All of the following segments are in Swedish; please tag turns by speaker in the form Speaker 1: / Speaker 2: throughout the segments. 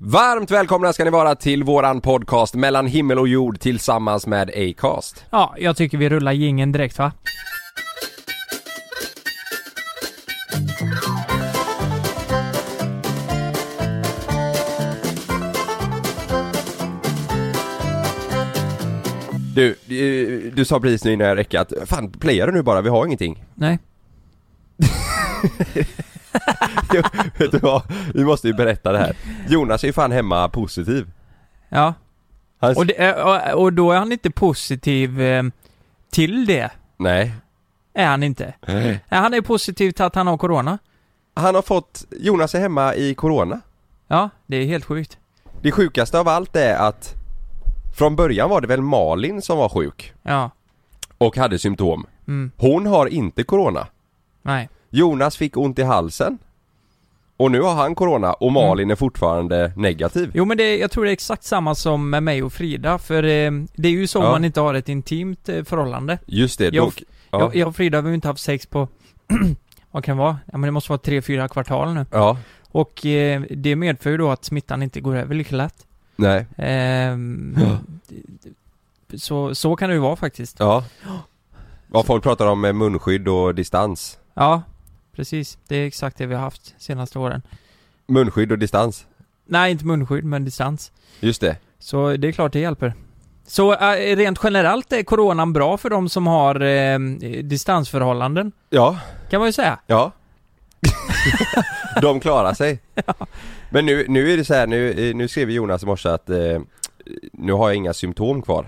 Speaker 1: Varmt välkomna ska ni vara till våran podcast mellan himmel och jord tillsammans med Acast.
Speaker 2: Ja, jag tycker vi rullar gingen direkt va?
Speaker 1: Du, eh, du sa precis nu innan jag räckte att fan playar du nu bara, vi har ingenting.
Speaker 2: Nej.
Speaker 1: Jo, Vet du vad? Vi måste ju berätta det här. Jonas är ju fan hemma positiv.
Speaker 2: Ja.
Speaker 1: Han...
Speaker 2: Och, det, eh, och, och då är han inte positiv eh, till det.
Speaker 1: Nej.
Speaker 2: Är han inte. Nej, han är positiv till att han har corona.
Speaker 1: Han har fått, Jonas är hemma i corona.
Speaker 2: Ja, det är helt sjukt.
Speaker 1: Det sjukaste av allt är att från början var det väl Malin som var sjuk
Speaker 2: Ja.
Speaker 1: och hade symptom.
Speaker 2: Mm.
Speaker 1: Hon har inte corona.
Speaker 2: Nej.
Speaker 1: Jonas fick ont i halsen. Och nu har han corona och
Speaker 2: Mm.
Speaker 1: Malin är fortfarande negativ.
Speaker 2: Jo men det, jag tror det är exakt samma som med mig och Frida, för eh, det är ju så
Speaker 1: Ja.
Speaker 2: om man inte har ett intimt eh, förhållande.
Speaker 1: Just det,
Speaker 2: Jag-
Speaker 1: dock. Ja.
Speaker 2: Jag, jag och Frida har ju inte haft sex på, vad kan det vara? Ja men det måste vara tre, fyra kvartal nu.
Speaker 1: ja.
Speaker 2: Och eh, det medför ju då att smittan inte går över lika lätt.
Speaker 1: Nej.
Speaker 2: Ehm,
Speaker 1: Ja.
Speaker 2: d- d- så, så kan det ju vara faktiskt.
Speaker 1: Ja. Vad folk pratar om med munskydd och distans.
Speaker 2: Ja, precis. Det är exakt det vi har haft senaste åren.
Speaker 1: Munskydd och distans.
Speaker 2: Nej, inte munskydd, men distans.
Speaker 1: Just det.
Speaker 2: Så det är klart det hjälper. Så eh, rent generellt är coronan bra för de som har eh, distansförhållanden,
Speaker 1: Ja.
Speaker 2: kan man ju säga.
Speaker 1: Ja. De klarar sig. Men nu, nu är det så här, nu, eh, nu skrev Jonas i morse att eh, nu har jag inga symptom kvar.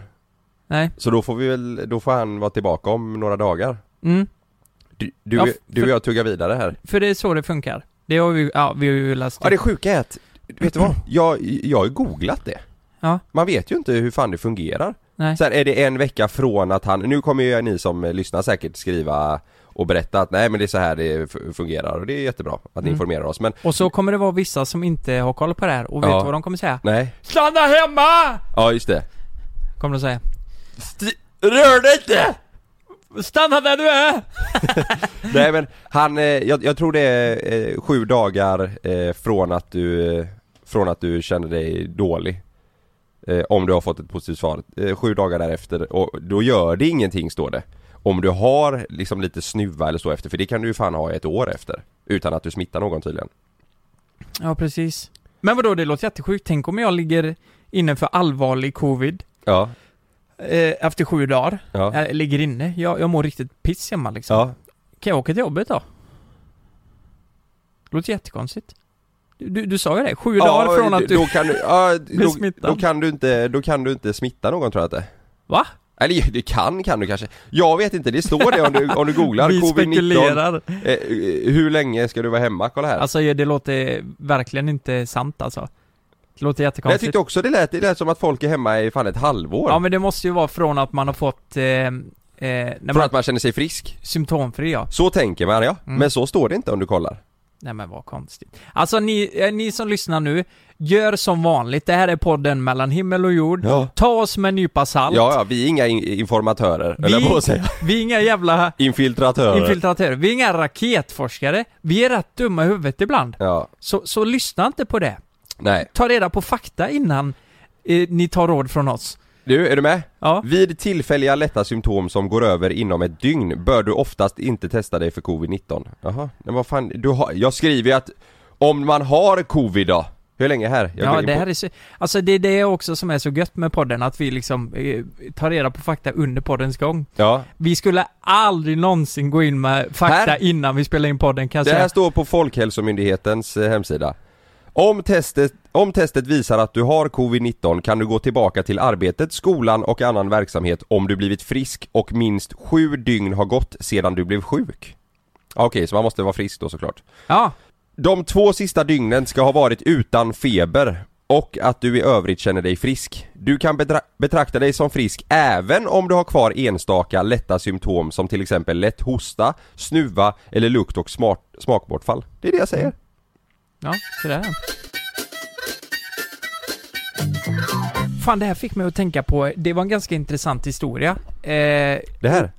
Speaker 2: Nej.
Speaker 1: Så då får vi väl, då får han vara tillbaka om några dagar.
Speaker 2: Mm.
Speaker 1: Du, du,
Speaker 2: Ja, f-
Speaker 1: du och jag tuggar vidare här.
Speaker 2: För det är så det funkar. Det har vi, ja, vi har ju läst
Speaker 1: Ja det sjuka är att, vet du vad? Jag, jag har ju googlat det.
Speaker 2: Ja.
Speaker 1: Man vet ju inte hur fan det fungerar.
Speaker 2: Nej.
Speaker 1: Så här, är det en vecka från att han, nu kommer ju ni som eh, lyssnar säkert skriva och berätta att nej men det är så här det f- fungerar och det är jättebra att ni
Speaker 2: Mm.
Speaker 1: informerar oss men
Speaker 2: Och så kommer det vara vissa som inte har koll på det här och vet
Speaker 1: Ja.
Speaker 2: vad de kommer säga.
Speaker 1: nej,
Speaker 2: Stanna hemma!
Speaker 1: ja just det.
Speaker 2: Kommer de säga.
Speaker 1: Rör dig inte!
Speaker 2: Stanna där du är!
Speaker 1: Nej men han, eh, jag, jag tror det är eh, sju dagar eh, från att du, eh, från att du känner dig dålig eh, Om du har fått ett positivt svar, eh, sju dagar därefter och då gör det ingenting står det Om du har liksom lite snuva eller så efter, för det kan du ju fan ha ett år efter Utan att du smittar någon tydligen
Speaker 2: Ja, precis. Men vadå, det låter jättesjukt. Tänk om jag ligger inne för allvarlig covid
Speaker 1: Ja,
Speaker 2: eh, efter sju dagar.
Speaker 1: ja,
Speaker 2: Jag ligger inne. Jag, jag mår riktigt piss hemma liksom.
Speaker 1: ja
Speaker 2: Kan jag åka till jobbet då? Det låter jättekonstigt. Du, du, du sa ju det, sju dagar från att du...
Speaker 1: då kan du, ja, då,
Speaker 2: smittad.
Speaker 1: då kan du inte, då kan du inte smitta någon tror jag inte
Speaker 2: Va?
Speaker 1: Eller det kan, kan du kanske. Jag vet inte, det står det om du, om du googlar
Speaker 2: Vi
Speaker 1: covid-19
Speaker 2: spekulerar.
Speaker 1: Eh, eh, hur länge ska du vara hemma? Kolla här.
Speaker 2: Alltså det låter verkligen inte sant alltså. Det låter
Speaker 1: Men jag
Speaker 2: jättekonstigt.
Speaker 1: tyckte också det lät, det lät som att folk är hemma i fan ett halvår.
Speaker 2: Ja men det måste ju vara från att man har fått... Eh, eh, när
Speaker 1: För
Speaker 2: man,
Speaker 1: att man känner sig frisk.
Speaker 2: Symptomfri ja.
Speaker 1: Så tänker man ja,
Speaker 2: Mm.
Speaker 1: men så står det inte om du kollar.
Speaker 2: Nej men vad konstigt. Alltså ni, eh, ni som lyssnar nu, gör som vanligt. Det här är podden mellan himmel och jord.
Speaker 1: Ja.
Speaker 2: Ta oss med en nypa salt.
Speaker 1: Ja, ja, vi är inga in- informatörer,
Speaker 2: Vi-
Speaker 1: eller vad säga.
Speaker 2: Vi är inga jävla
Speaker 1: Infiltratörer.
Speaker 2: infiltratörer. Vi är inga raketforskare. Vi är rätt dumma i huvudet ibland.
Speaker 1: ja,
Speaker 2: Så, så lyssna inte på det.
Speaker 1: nej.
Speaker 2: Ta reda på fakta innan eh, ni tar råd från oss.
Speaker 1: Du, är du med?
Speaker 2: Ja.
Speaker 1: Vid tillfälliga lätta symptom som går över inom ett dygn bör du oftast inte testa dig för covid-19. Jaha, men vad fan, du har, jag skriver ju att om man har covid då, hur länge här? Jag går
Speaker 2: Ja,
Speaker 1: in
Speaker 2: det
Speaker 1: på-
Speaker 2: här är så, Alltså det är det också som är så gött med podden, att vi liksom eh, tar reda på fakta under poddens gång.
Speaker 1: ja.
Speaker 2: Vi skulle aldrig någonsin gå in med fakta
Speaker 1: Här-
Speaker 2: innan vi spelar in podden kan jag
Speaker 1: Det
Speaker 2: säga.
Speaker 1: här står på Folkhälsomyndighetens eh, hemsida. Om testet, om testet visar att du har covid-19 kan du gå tillbaka till arbetet, skolan och annan verksamhet om du blivit frisk och minst sju dygn har gått sedan du blev sjuk. Ja, Okej, så man måste vara frisk då såklart.
Speaker 2: Ja,
Speaker 1: De två sista dygnen ska ha varit utan feber och att du i övrigt känner dig frisk. Du kan betra- betrakta dig som frisk även om du har kvar enstaka lätta symptom som till exempel lätt hosta, snuva eller lukt och smart- smakbortfall. Det är det jag säger.
Speaker 2: ja, sådär. Fan, det här fick mig att tänka på, det var en ganska intressant historia. Eh,
Speaker 1: Det här?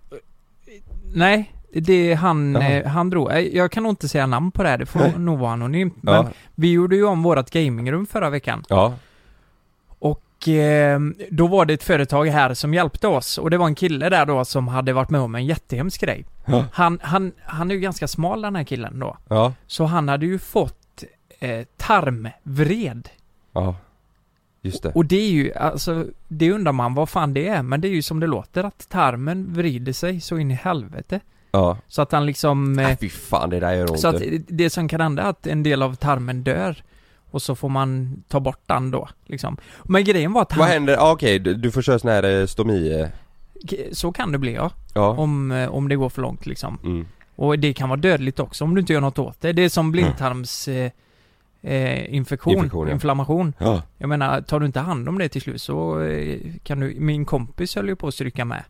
Speaker 2: nej, Det är han,
Speaker 1: Jaha.
Speaker 2: eh, han drog, eh, jag kan nog inte säga namn på det här, det får
Speaker 1: Nej.
Speaker 2: nog vara anonymt. Men
Speaker 1: Ja,
Speaker 2: vi gjorde ju om vårat gamingrum förra veckan.
Speaker 1: ja,
Speaker 2: Och eh, då var det ett företag här som hjälpte oss och det var en kille där då som hade varit med om en jättehemsk grej.
Speaker 1: Ja.
Speaker 2: Han, han, han är ju ganska smal den här killen då.
Speaker 1: ja,
Speaker 2: Så han hade ju fått eh, tarmvred.
Speaker 1: ja. Just det.
Speaker 2: Och det är ju, alltså, det undrar man vad fan det är, men det är ju som det låter att tarmen vrider sig så in i helvete.
Speaker 1: Ja.
Speaker 2: Så att han liksom... Eh,
Speaker 1: Äh, fy fan det där gör ont.
Speaker 2: Så att det som kan hända är att en del av tarmen dör och så får man ta bort den då, liksom. Men grejen var att
Speaker 1: Vad
Speaker 2: han,
Speaker 1: händer? Ah, Okej, du, du får köra sån här eh, stomi... eh,
Speaker 2: så kan det bli ja,
Speaker 1: Ja.
Speaker 2: om, eh, om det går för långt liksom.
Speaker 1: Mm.
Speaker 2: Och det kan vara dödligt också om du inte gör något åt det. Det är som blindtarms... Eh, eh, infektion,
Speaker 1: Infektion, ja.
Speaker 2: inflammation.
Speaker 1: Ja.
Speaker 2: Jag menar, tar du inte hand om det till slut så eh, kan du, min kompis höll ju på att stryka med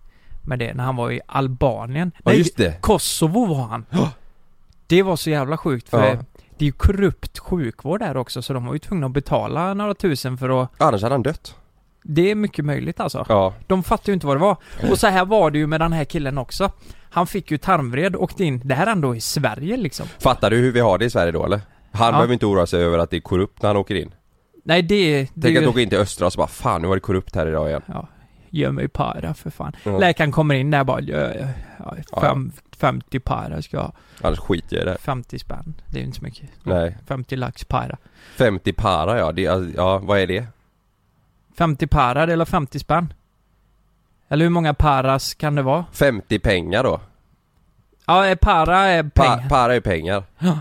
Speaker 2: med det när han var i Albanien.
Speaker 1: ja,
Speaker 2: Nej,
Speaker 1: just det.
Speaker 2: Kosovo var han.
Speaker 1: Ja.
Speaker 2: Det var så jävla sjukt för
Speaker 1: Ja.
Speaker 2: det är ju korrupt sjukvård där också så de var ju tvungna att betala några tusen för att...
Speaker 1: Annars hade han dött.
Speaker 2: Det är mycket möjligt alltså.
Speaker 1: Ja.
Speaker 2: De fattade ju inte vad det var. Och så här var det ju med den här killen också. Han fick ju tarmvred, åkte in. Det här är ändå i Sverige liksom.
Speaker 1: Fattar du hur vi har det i Sverige då eller? Han
Speaker 2: Ja.
Speaker 1: behöver inte oroa sig över att det är korrupt när han åker in.
Speaker 2: Nej det... det är
Speaker 1: Tänk
Speaker 2: ju-
Speaker 1: att åka in till Östra och så bara fan nu var det korrupt här idag igen.
Speaker 2: Ja, gör mig para för fan.
Speaker 1: Ja.
Speaker 2: Läkaren kommer in där bara, ja, ja, ja,
Speaker 1: Ja.
Speaker 2: fem, 50 para ska jag ha.
Speaker 1: Annars skiter jag i det.
Speaker 2: 50 spänn, det är ju inte så mycket.
Speaker 1: Nej.
Speaker 2: 50 lax para.
Speaker 1: 50 para ja, det, alltså, ja vad är det?
Speaker 2: 50 para, det är väl 50 spänn? Eller hur många paras kan det vara?
Speaker 1: 50 pengar då?
Speaker 2: Ja, eh, para är pengar.
Speaker 1: Pa, para är pengar.
Speaker 2: Ja.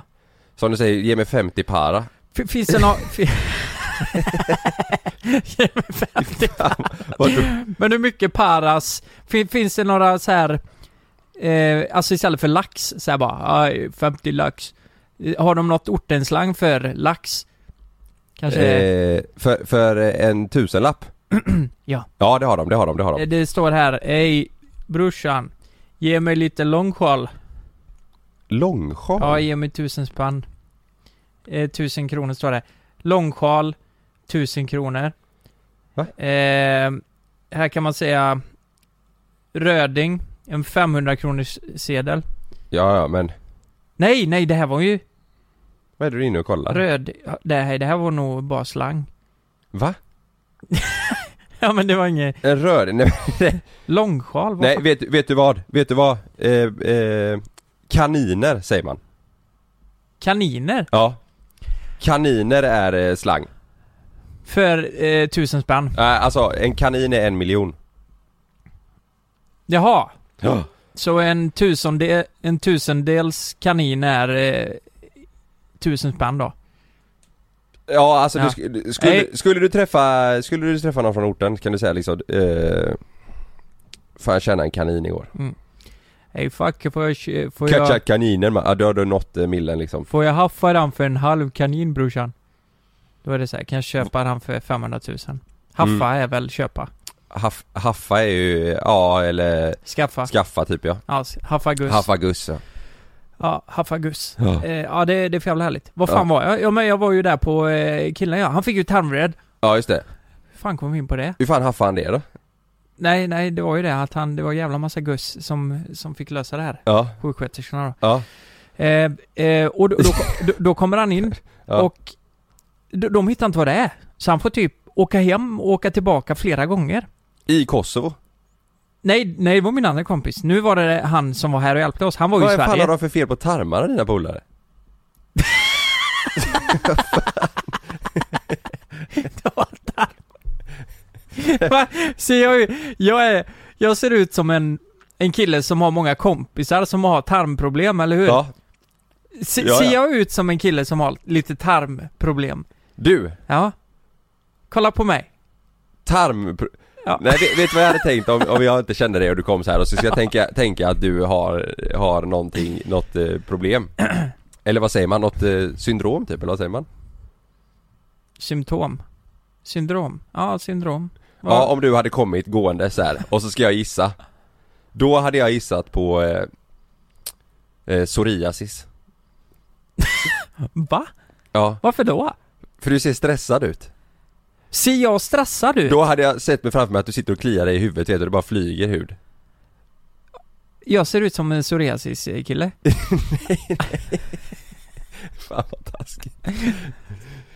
Speaker 1: Som du säger, ge mig 50 para.
Speaker 2: F- Finns det någon... fi- Ge mig 50.
Speaker 1: Vart du-
Speaker 2: Men hur mycket paras? Fin- Finns det några så här... Eh, alltså istället för lax, så här bara, aj, 50 lax. Eh, Har de något ortenslang för lax? Kanske...
Speaker 1: eh, för, för en tusenlapp?
Speaker 2: Ja.
Speaker 1: Ja det har de, det har de, det har de.
Speaker 2: eh, Det står här, ej brorsan, ge mig lite långskal.
Speaker 1: Långsjal?
Speaker 2: Ja, ge mig tusen spänn. Eh, tusen kronor står det. Långsjal, tusen kronor.
Speaker 1: Va?
Speaker 2: Eh, här kan man säga Röding, en 500 kronors sedel.
Speaker 1: ja, ja men
Speaker 2: Nej, nej, det här var ju
Speaker 1: vad är det du är inne och kollar?
Speaker 2: röd... Det här, det här var nog bara slang.
Speaker 1: Va?
Speaker 2: Ja, men det var inget...
Speaker 1: En röd? Nej,
Speaker 2: Långsjal? Vad
Speaker 1: nej
Speaker 2: fan?
Speaker 1: vet, vet du vad? Vet du vad? Eh, eh, kaniner säger man.
Speaker 2: Kaniner?
Speaker 1: Ja. Kaniner är eh, slang.
Speaker 2: För eh, tusen spänn.
Speaker 1: Äh, alltså en kanin är en miljon.
Speaker 2: Jaha.
Speaker 1: Ja.
Speaker 2: Så en, tusendel, en tusendels kanin är eh, tusen spänn då?
Speaker 1: Ja alltså
Speaker 2: Ja.
Speaker 1: Du, sk- du- skulle,
Speaker 2: Nej.
Speaker 1: skulle du träffa, skulle du träffa någon från orten kan du säga liksom eh, Fan jag tjänade en kanin igår.
Speaker 2: Ey fuck, får jag, kö- får jag...
Speaker 1: Catcha kaninen man, ja, då har du nått eh, millen liksom.
Speaker 2: Får jag haffa den för en halv kanin brorsan? Då är det så här, kan jag köpa den för 500 000? Haffa
Speaker 1: Mm.
Speaker 2: är väl köpa?
Speaker 1: Haff, haffa är ju, ja eller
Speaker 2: Skaffa?
Speaker 1: skaffa typ ja.
Speaker 2: ja, s- haffa guss.
Speaker 1: Haffa guss ja.
Speaker 2: Ja, haffa guss.
Speaker 1: Ja.
Speaker 2: Eh, ja, det, det är för jävla härligt. Vad
Speaker 1: Ja.
Speaker 2: fan var jag? Ja, men jag var ju där på eh, killen ja. Han fick ju tarmvred.
Speaker 1: Ja just det.
Speaker 2: Hur fan kom vi in på det?
Speaker 1: Hur fan haffade han det då?
Speaker 2: Nej, nej, det var ju det att han, det var jävla massa guss som, som fick lösa det här.
Speaker 1: Ja,
Speaker 2: Sjuksköterskorna då.
Speaker 1: ja,
Speaker 2: Eh, eh, och då, då, då, då kommer han in
Speaker 1: ja.
Speaker 2: och de, de hittar inte vad det är. Så han får typ åka hem och åka tillbaka flera gånger.
Speaker 1: I Kosovo?
Speaker 2: Nej, nej det var min andra kompis. Nu var det han som var här och hjälpte oss. Han var ju i
Speaker 1: Vad fan
Speaker 2: Sverige.
Speaker 1: har de för fel på tarmarna dina polare?
Speaker 2: Va? Ser jag, ju- jag, är, jag ser ut som en, en kille som har många kompisar som har tarmproblem, eller hur?
Speaker 1: Ja.
Speaker 2: Se,
Speaker 1: ja,
Speaker 2: Ser
Speaker 1: ja.
Speaker 2: jag ut som en kille som har lite tarmproblem?
Speaker 1: Du,
Speaker 2: Ja. Kolla på mig.
Speaker 1: tarm...
Speaker 2: Ja.
Speaker 1: Nej vet, vet du vad jag hade tänkt om, om jag inte kände dig och du kom så här och så ska jag tänka, tänka att du har, har någonting, något eh, problem Eller vad säger man? Något eh, syndrom typ, eller vad säger man?
Speaker 2: Symptom. Syndrom. Ja, syndrom.
Speaker 1: Ja, om du hade kommit gående så här och så ska jag gissa Då hade jag gissat på eh, eh, psoriasis
Speaker 2: Va?
Speaker 1: Ja,
Speaker 2: Varför då?
Speaker 1: för du ser stressad ut
Speaker 2: Ser jag stressad ut?
Speaker 1: Då hade jag sett mig framför mig att du sitter och kliar dig i huvudet vet du, det bara flyger hud
Speaker 2: Jag ser ut som en psoriasis-kille.
Speaker 1: Fan vad taskigt. Nej.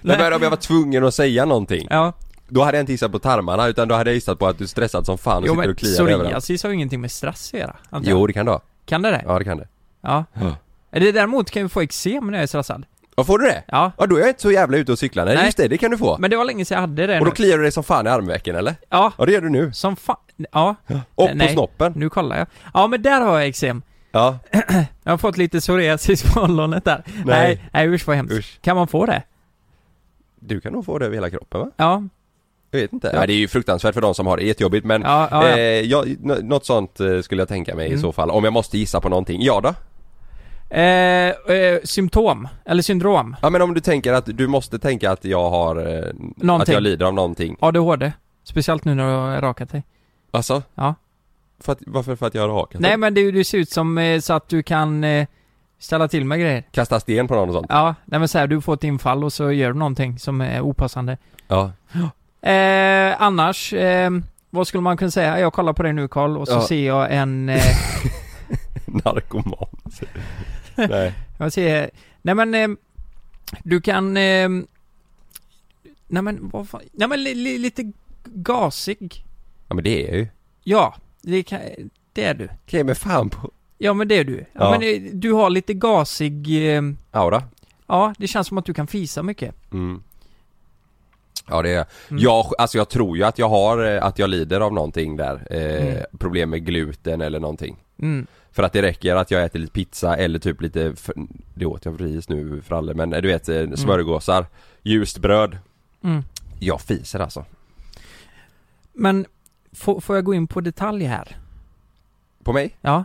Speaker 1: Men om jag var tvungen att säga någonting,
Speaker 2: Ja,
Speaker 1: då hade jag inte gissat på tarmarna utan då hade jag gissat på att du är stressad som fan och
Speaker 2: jo
Speaker 1: sitter
Speaker 2: men
Speaker 1: och kliar dig överallt.
Speaker 2: psoriasis har ju ingenting med stress att göra. antar jag.
Speaker 1: Jo det kan du ha.
Speaker 2: Kan det det?
Speaker 1: Ja det kan det.
Speaker 2: Ja.
Speaker 1: Ja.
Speaker 2: Eller däremot kan vi få eksem när jag är stressad.
Speaker 1: Ja får du det?
Speaker 2: Ja.
Speaker 1: Ja då är jag inte så jävla ute och cyklar. Nej,
Speaker 2: Nej.
Speaker 1: just det, det kan du få.
Speaker 2: Men det var länge sedan jag hade det
Speaker 1: Och då
Speaker 2: nu.
Speaker 1: kliar du dig som fan i armvecken eller?
Speaker 2: Ja,
Speaker 1: Ja det gör du nu.
Speaker 2: som fan. Ja,
Speaker 1: Och på
Speaker 2: Nej.
Speaker 1: snoppen.
Speaker 2: nu kollar jag. Ja men där har jag eksem.
Speaker 1: Ja,
Speaker 2: Jag har fått lite psoriasis på ollonet där. Nej. Nej, usch vad hemskt.
Speaker 1: usch.
Speaker 2: Kan man få det?
Speaker 1: Du kan nog få det över hela kroppen va?
Speaker 2: Ja,
Speaker 1: Jag vet inte.
Speaker 2: Ja.
Speaker 1: Ja, det är ju fruktansvärt för de som har det jättejobbigt men
Speaker 2: ja, ja. ja.
Speaker 1: Eh, jag, nå- något sånt eh, skulle jag tänka mig i
Speaker 2: Mm.
Speaker 1: så fall, om jag måste gissa på någonting. Ja då?
Speaker 2: Eh, eh, symptom, eller syndrom.
Speaker 1: Ja men om du tänker att, du måste tänka att jag har, eh, att
Speaker 2: Någonting.
Speaker 1: jag lider av någonting.
Speaker 2: ADHD. Speciellt nu när du har rakat dig.
Speaker 1: Alltså?
Speaker 2: Ja.
Speaker 1: För att, varför? För att jag har hakat?
Speaker 2: Nej men du, du ser ut som eh, så att du kan eh, ställa till med grejer.
Speaker 1: Kasta sten på någon och sånt?
Speaker 2: Ja, nej men så här, du får ett infall och så gör du någonting som är opassande.
Speaker 1: Ja.
Speaker 2: Eh, annars, eh, vad skulle man kunna säga? Jag kollar på dig nu Karl och så
Speaker 1: Ja.
Speaker 2: ser jag en... Eh,
Speaker 1: Narkoman. Nej.
Speaker 2: jag ser... Nej men, eh, du kan... Eh, nej men, vad fan? Nej men li, li, lite gasig.
Speaker 1: Ja men det är jag ju.
Speaker 2: Ja, det, kan, det är du.
Speaker 1: Okej men fan på
Speaker 2: Ja men det är du. Ja,
Speaker 1: Ja.
Speaker 2: Men eh, du har lite gasig... Eh,
Speaker 1: aura.
Speaker 2: ja, det känns som att du kan fisa mycket.
Speaker 1: Mm. Ja det är jag.
Speaker 2: Mm.
Speaker 1: jag. Alltså jag tror ju att jag har, eh, att jag lider av någonting där. Eh,
Speaker 2: Mm.
Speaker 1: Problem med gluten eller någonting.
Speaker 2: Mm.
Speaker 1: För att det räcker att jag äter lite pizza eller typ lite, f- det åt jag för ris nu för alla men du vet eh, smörgåsar, ljust bröd.
Speaker 2: Mm.
Speaker 1: Jag fiser alltså.
Speaker 2: Men, får, får jag gå in på detalj här?
Speaker 1: På mig?
Speaker 2: Ja.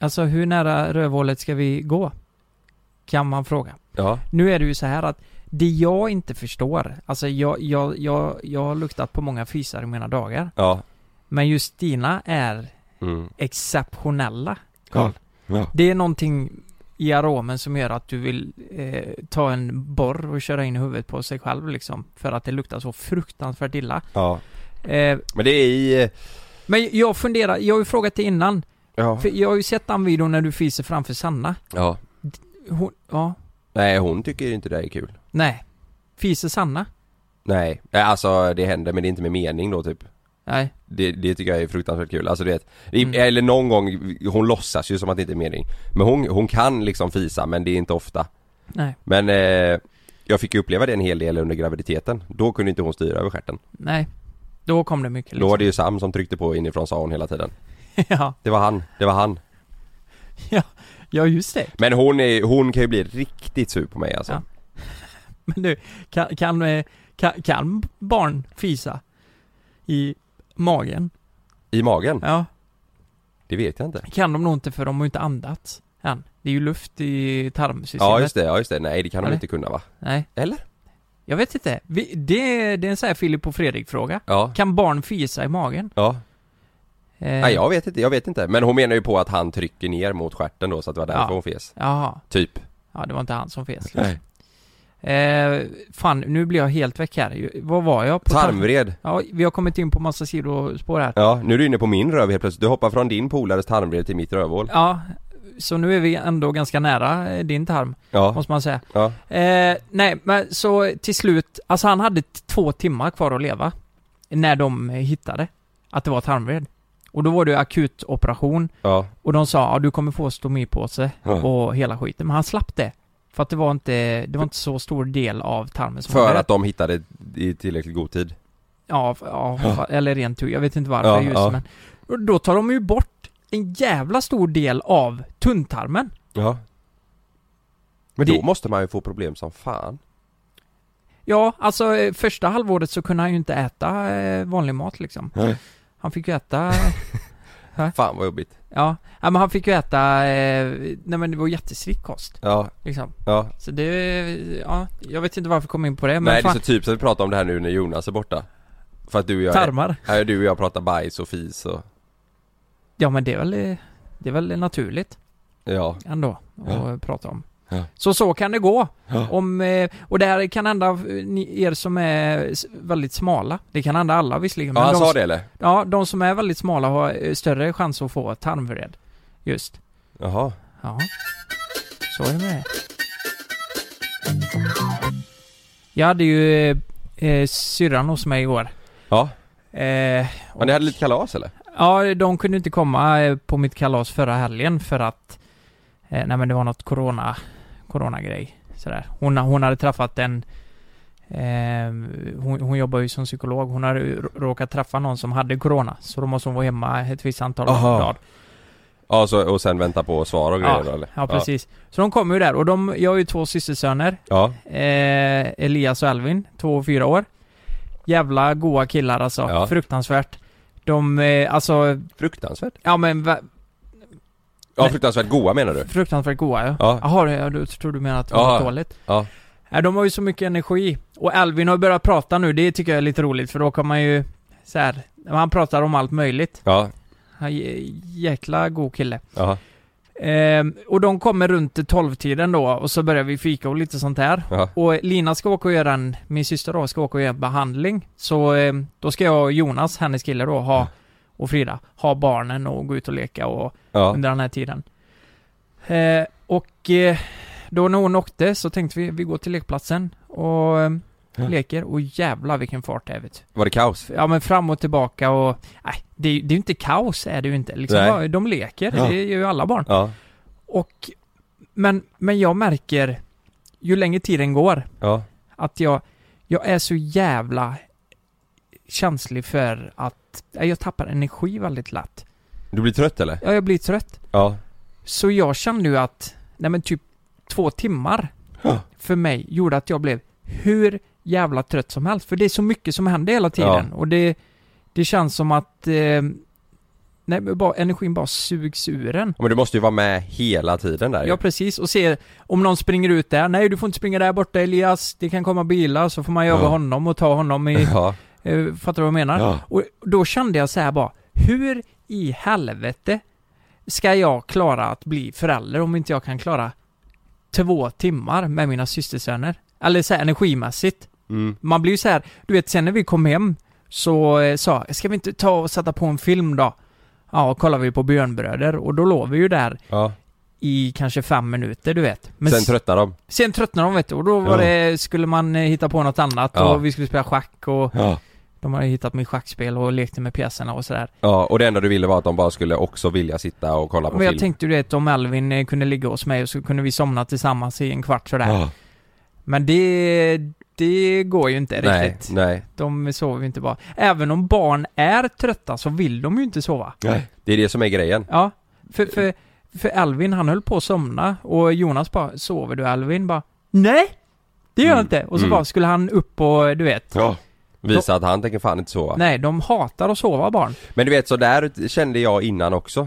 Speaker 2: Alltså hur nära rövhålet ska vi gå? Kan man fråga.
Speaker 1: Ja.
Speaker 2: Nu är det ju så här att det jag inte förstår, alltså jag, jag, jag, jag har luktat på många fisar i mina dagar.
Speaker 1: Ja.
Speaker 2: Men just dina är
Speaker 1: Mm.
Speaker 2: exceptionella.
Speaker 1: Ja.
Speaker 2: Carl.
Speaker 1: ja.
Speaker 2: Det är någonting i aromen som gör att du vill eh, ta en borr och köra in i huvudet på sig själv liksom. För att det luktar så fruktansvärt illa.
Speaker 1: Ja.
Speaker 2: Eh,
Speaker 1: Men det är i... eh,
Speaker 2: men jag funderar, jag har ju frågat dig innan.
Speaker 1: Ja.
Speaker 2: För jag har ju sett den videon när du fiser framför Sanna.
Speaker 1: ja.
Speaker 2: Hon, ja,
Speaker 1: Nej hon tycker inte det är kul.
Speaker 2: nej. Fiser Sanna?
Speaker 1: Nej. Eh, Alltså det händer men det är inte med mening då typ.
Speaker 2: Nej.
Speaker 1: Det, det tycker jag är fruktansvärt kul. Alltså du vet, i-
Speaker 2: Mm.
Speaker 1: eller någon gång, hon låtsas ju som att det inte är mening. Men hon, hon kan liksom fisa men det är inte ofta.
Speaker 2: Nej.
Speaker 1: Men eh, jag fick ju uppleva det en hel del under graviditeten. Då kunde inte hon styra över stjärten.
Speaker 2: Nej. Då kom det mycket liksom.
Speaker 1: Då var det ju Sam som tryckte på inifrån sa hon hela tiden.
Speaker 2: ja,
Speaker 1: Det var han, det var han.
Speaker 2: ja, just det.
Speaker 1: Men hon, är, hon kan ju bli riktigt sur på mig alltså.
Speaker 2: Ja. Men du, kan, kan, eh, kan, kan barn fisa i magen?
Speaker 1: Mm. I magen?
Speaker 2: Ja.
Speaker 1: Det vet jag inte.
Speaker 2: Kan de nog inte för de har ju inte andats än. Det är ju luft i tarmsystemet.
Speaker 1: Ja just det, ja just det. Nej det kan de
Speaker 2: Eller?
Speaker 1: inte kunna va?
Speaker 2: Nej.
Speaker 1: Eller?
Speaker 2: Jag vet inte. Vi, det, det är en sån här Filip och Fredrik-fråga.
Speaker 1: Ja.
Speaker 2: Kan barn fisa i magen?
Speaker 1: Ja.
Speaker 2: Eh,
Speaker 1: Nej jag vet inte, jag vet inte. Men hon menar ju på att han trycker ner mot stjärten då så att det var därför
Speaker 2: Ja.
Speaker 1: hon fes.
Speaker 2: Jaha.
Speaker 1: Typ.
Speaker 2: Ja, det var inte han som fes. liksom.
Speaker 1: Nej.
Speaker 2: Eh, fan, nu blir jag helt väck här. Ju- Vad var jag? På tarm-
Speaker 1: Tarmvred.
Speaker 2: Ja, vi har kommit in på massa sidospår här.
Speaker 1: Ja, nu är du inne på min röv helt plötsligt. Du hoppar från din polares tarmvred till mitt rövhål.
Speaker 2: Ja, så nu är vi ändå ganska nära eh, din tarm,
Speaker 1: Ja.
Speaker 2: måste man säga.
Speaker 1: Ja.
Speaker 2: Eh, nej, men så till slut, alltså han hade t- två timmar kvar att leva. När de eh, hittade att det var tarmvred. Och då var det akut operation
Speaker 1: Ja.
Speaker 2: och de sa ja, du kommer få stomipåse
Speaker 1: Ja.
Speaker 2: och hela skiten. Men han slapp det. För att det var inte, det var inte så stor del av tarmen som var
Speaker 1: För
Speaker 2: död.
Speaker 1: att de hittade i tillräckligt god tid.
Speaker 2: Ja, f- ja, fa- eller rent tur. Jag vet inte varför
Speaker 1: Ja,
Speaker 2: just
Speaker 1: ja.
Speaker 2: men. Och då tar de ju bort en jävla stor del av tunntarmen.
Speaker 1: Ja Men
Speaker 2: Det-
Speaker 1: då måste man ju få problem som fan
Speaker 2: Ja, alltså eh, första halvåret så kunde han ju inte äta eh, vanlig mat liksom.
Speaker 1: Nej.
Speaker 2: Han fick ju äta,
Speaker 1: Fan vad jobbigt
Speaker 2: ja, ja men han fick ju äta, eh, nej men det var jättestrikt kost
Speaker 1: Ja,
Speaker 2: liksom.
Speaker 1: ja
Speaker 2: Så det, ja, jag vet inte varför jag kom in på det men
Speaker 1: Nej det är
Speaker 2: fan,
Speaker 1: så typiskt att vi pratar om det här nu när Jonas är borta För att du och jag,
Speaker 2: tarmar.
Speaker 1: ja, du och jag pratar bajs och fis och,
Speaker 2: Ja men det är väl, eh, det är väl naturligt
Speaker 1: ja,
Speaker 2: ändå att
Speaker 1: Ja.
Speaker 2: prata om.
Speaker 1: Ja.
Speaker 2: Så så kan det gå.
Speaker 1: Ja.
Speaker 2: Om, eh, och det här kan hända eh, ni- er som är s- väldigt smala. Det kan hända alla visserligen.
Speaker 1: ja
Speaker 2: men
Speaker 1: han
Speaker 2: de
Speaker 1: sa
Speaker 2: s-
Speaker 1: det eller?
Speaker 2: Ja, de som är väldigt smala har eh, större chans att få tarmvred. Just.
Speaker 1: Jaha
Speaker 2: Ja. Så är det med det. Jag hade ju eh, eh, syrran hos mig igår.
Speaker 1: Ja,
Speaker 2: Eh,
Speaker 1: men ni hade lite kalas eller?
Speaker 2: ja, de kunde inte komma eh, på mitt kalas förra helgen för att... Eh, nej men det var något corona... Corona-grej. Sådär. Hon, hon hade träffat en... Eh, hon, hon jobbar ju som psykolog. Hon hade ju råkat träffa någon som hade corona. Så då måste hon vara hemma ett visst antal
Speaker 1: Aha.
Speaker 2: dagar.
Speaker 1: Ja så, och sen vänta på svar och grejer
Speaker 2: Ja,
Speaker 1: då, eller?
Speaker 2: Ja, precis. Så de kommer ju där och de, jag har ju två systersöner.
Speaker 1: Ja,
Speaker 2: Eh, Elias och Alvin, två och fyra år. Jävla goa killar alltså.
Speaker 1: Ja.
Speaker 2: Fruktansvärt. De, eh, alltså,
Speaker 1: fruktansvärt
Speaker 2: ja men va-
Speaker 1: Ja
Speaker 2: Nej.
Speaker 1: fruktansvärt goa menar du?
Speaker 2: fruktansvärt goa ja.
Speaker 1: Ja.
Speaker 2: Jaha, det- ja, du tror du menar att det var
Speaker 1: Ja.
Speaker 2: något dåligt?
Speaker 1: Ja,
Speaker 2: Nej, de har ju så mycket energi. Och Alvin har börjat prata nu, det tycker jag är lite roligt för då kan man ju så här, han pratar om allt möjligt.
Speaker 1: ja,
Speaker 2: Han är j- jäkla god kille.
Speaker 1: ja,
Speaker 2: Ehm, och de kommer runt 12-tiden då och så börjar vi fika och lite sånt här.
Speaker 1: ja,
Speaker 2: Och Lina ska åka och göra en, min syster då, ska åka och göra en behandling. Så eh, då ska jag och Jonas, hennes kille då,
Speaker 1: Mm.
Speaker 2: ha, och Frida, ha barnen och gå ut och leka och
Speaker 1: ja,
Speaker 2: under den här tiden. Eh, och eh, då när hon åkte så tänkte vi, vi går till lekplatsen och eh,
Speaker 1: Ja.
Speaker 2: leker. Och jävla vilken fart det är vet
Speaker 1: var det kaos?
Speaker 2: du. Ja men fram och tillbaka och, nej, det, är ju- det är ju inte kaos är det ju inte. Liksom,
Speaker 1: Nej.
Speaker 2: ja, de leker,
Speaker 1: Ja.
Speaker 2: det är ju alla barn.
Speaker 1: Ja,
Speaker 2: Och, men, men jag märker, ju längre tiden går,
Speaker 1: ja,
Speaker 2: att jag, jag är så jävla känslig för att ja, jag tappar energi väldigt lätt.
Speaker 1: du blir trött eller?
Speaker 2: Ja, jag blir trött.
Speaker 1: Ja,
Speaker 2: Så jag kände ju att, nej men typ två timmar
Speaker 1: Ja.
Speaker 2: för mig gjorde att jag blev hur jävla trött som helst. För det är så mycket som händer hela tiden och det, det känns som att eh, nej, men bara, energin bara sugs ur en.
Speaker 1: men du måste ju vara med hela tiden där ju.
Speaker 2: Ja precis, och se om någon springer ut där. Nej du får inte springa där borta Elias, det kan komma bilar så får man jaga
Speaker 1: Ja.
Speaker 2: honom och ta honom i
Speaker 1: Ja,
Speaker 2: Eh, Fattar du vad jag menar?
Speaker 1: Ja.
Speaker 2: Och då kände jag så här bara, hur i helvete ska jag klara att bli förälder om inte jag kan klara två timmar med mina systersöner? Eller så här energimässigt.
Speaker 1: mm,
Speaker 2: Man blir ju så här, du vet sen när vi kom hem så eh, sa jag, ska vi inte ta och sätta på en film då? Ja, och kollar vi på Björnbröder och då låg vi ju där
Speaker 1: ja,
Speaker 2: i kanske fem minuter, du vet. Men
Speaker 1: sen tröttnar de
Speaker 2: sen tröttnade de vet du och då var
Speaker 1: Ja.
Speaker 2: det, skulle man eh, hitta på något annat
Speaker 1: Ja.
Speaker 2: och vi skulle spela schack och
Speaker 1: Ja
Speaker 2: de hade hittat mitt schackspel och lekte med pjäserna och sådär.
Speaker 1: Ja, och det enda du ville var att de bara skulle också vilja sitta och kolla på
Speaker 2: Men jag
Speaker 1: film.
Speaker 2: tänkte ju det om Alvin eh, kunde ligga hos mig och så kunde vi somna tillsammans i en kvart sådär.
Speaker 1: Ja.
Speaker 2: Men det, det går ju inte
Speaker 1: nej,
Speaker 2: riktigt.
Speaker 1: nej,
Speaker 2: De sover ju inte bara. Även om barn är trötta så vill de ju inte sova.
Speaker 1: nej. Det är det som är grejen.
Speaker 2: Ja, för, för, för Alvin han höll på att somna och Jonas bara Sover du Alvin? Bara Nej! Det gör jag
Speaker 1: Mm,
Speaker 2: inte! Och så
Speaker 1: mm.
Speaker 2: bara skulle han upp och du vet.
Speaker 1: Ja. Visa att han tänker fan inte sova.
Speaker 2: Nej, de hatar att sova barn.
Speaker 1: Men du vet så där kände jag innan också.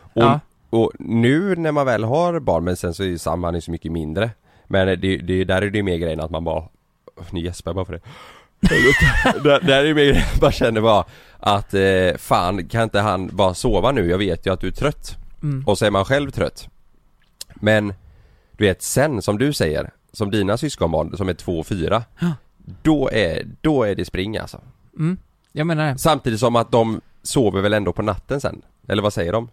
Speaker 1: Och,
Speaker 2: Ja.
Speaker 1: och nu när man väl har barn, men sen så är ju Sam han är så mycket mindre. Men det, det, där är det ju mer grejen att man bara, nu gäspar jag bara för det. där, där är ju mer grejen att man känner bara att eh, fan kan inte han bara sova nu? Jag vet ju att du är trött.
Speaker 2: Mm.
Speaker 1: Och så är man själv trött. Men du vet sen som du säger, som dina syskonbarn som är två och fyra.
Speaker 2: Ja.
Speaker 1: Då är, då är det spring alltså.
Speaker 2: Mm. Jag menar det.
Speaker 1: Samtidigt som att de sover väl ändå på natten sen? Eller vad säger de?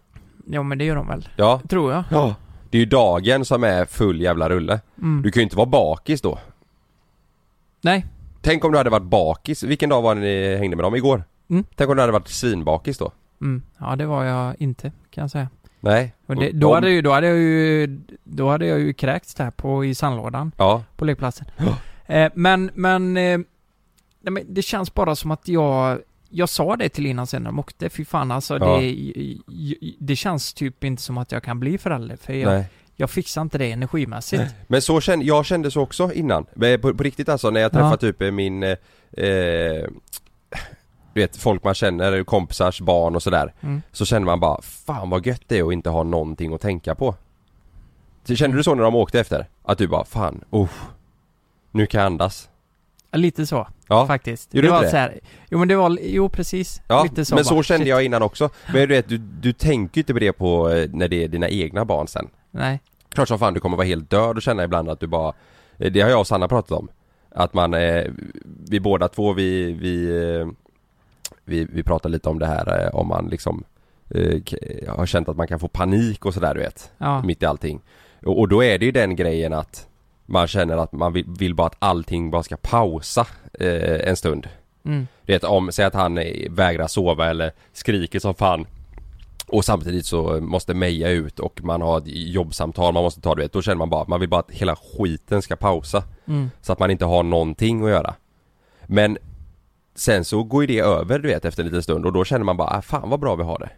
Speaker 2: Ja men det gör de väl.
Speaker 1: Ja.
Speaker 2: Tror jag.
Speaker 1: Ja. Det är ju dagen som är full jävla rulle.
Speaker 2: Mm.
Speaker 1: Du kan ju inte vara bakis då.
Speaker 2: Nej.
Speaker 1: Tänk om du hade varit bakis. Vilken dag var det ni hängde med dem? Igår?
Speaker 2: Mm.
Speaker 1: Tänk om du hade varit svinbakis då?
Speaker 2: Mm. Ja, det var jag inte, kan jag säga.
Speaker 1: Nej.
Speaker 2: Och det,
Speaker 1: Och
Speaker 2: då,
Speaker 1: de-
Speaker 2: hade ju, då hade jag ju, då hade jag ju kräkts där på, i sandlådan
Speaker 1: Ja.
Speaker 2: på lekplatsen. Eh, men, men, eh, nej, men det känns bara som att jag, jag sa det till innan sen när de åkte, fy fan alltså
Speaker 1: Ja.
Speaker 2: det, i- i- det känns typ inte som att jag kan bli förälder för jag,
Speaker 1: Nej.
Speaker 2: jag fixar inte det energimässigt.
Speaker 1: Men så kände, jag kände så också innan, Men på, på riktigt alltså när jag träffade
Speaker 2: Ja.
Speaker 1: typ eh, min eh, eh, Du vet folk man känner, kompisars barn och sådär
Speaker 2: Mm.
Speaker 1: Så känner man bara, fan vad gött det är att inte ha någonting att tänka på Så Kände du så när de åkte efter? Att du bara, fan, oh, Nu kan jag andas
Speaker 2: Ja, Lite så,
Speaker 1: Ja,
Speaker 2: faktiskt.
Speaker 1: Gjorde du
Speaker 2: det var
Speaker 1: inte det?
Speaker 2: så här, jo men det var, jo precis.
Speaker 1: ja
Speaker 2: lite så
Speaker 1: men så
Speaker 2: bara.
Speaker 1: kände
Speaker 2: Shit.
Speaker 1: jag innan också Men du vet, du, du tänker ju inte på det på eh, när det är dina egna barn sen
Speaker 2: Nej.
Speaker 1: Klart som fan du kommer vara helt död och känna ibland att du bara eh, Det har jag och Sanna pratat om Att man, eh, vi båda två vi, vi, eh, vi, vi pratar lite om det här eh, om man liksom eh, k- Har känt att man kan få panik och sådär du vet
Speaker 2: Ja.
Speaker 1: Mitt i allting och, och då är det ju den grejen att Man känner att man vill, vill bara att allting bara ska pausa eh, en stund
Speaker 2: Mm.
Speaker 1: du vet om, säg att han eh, vägrar sova eller skriker som fan Och samtidigt så måste Meja ut och man har ett jobbsamtal man måste ta du vet Då känner man bara, man vill bara att hela skiten ska pausa
Speaker 2: Mm.
Speaker 1: Så att man inte har någonting att göra Men Sen så går ju det över du vet efter en liten stund och då känner man bara, ah, fan vad bra vi har det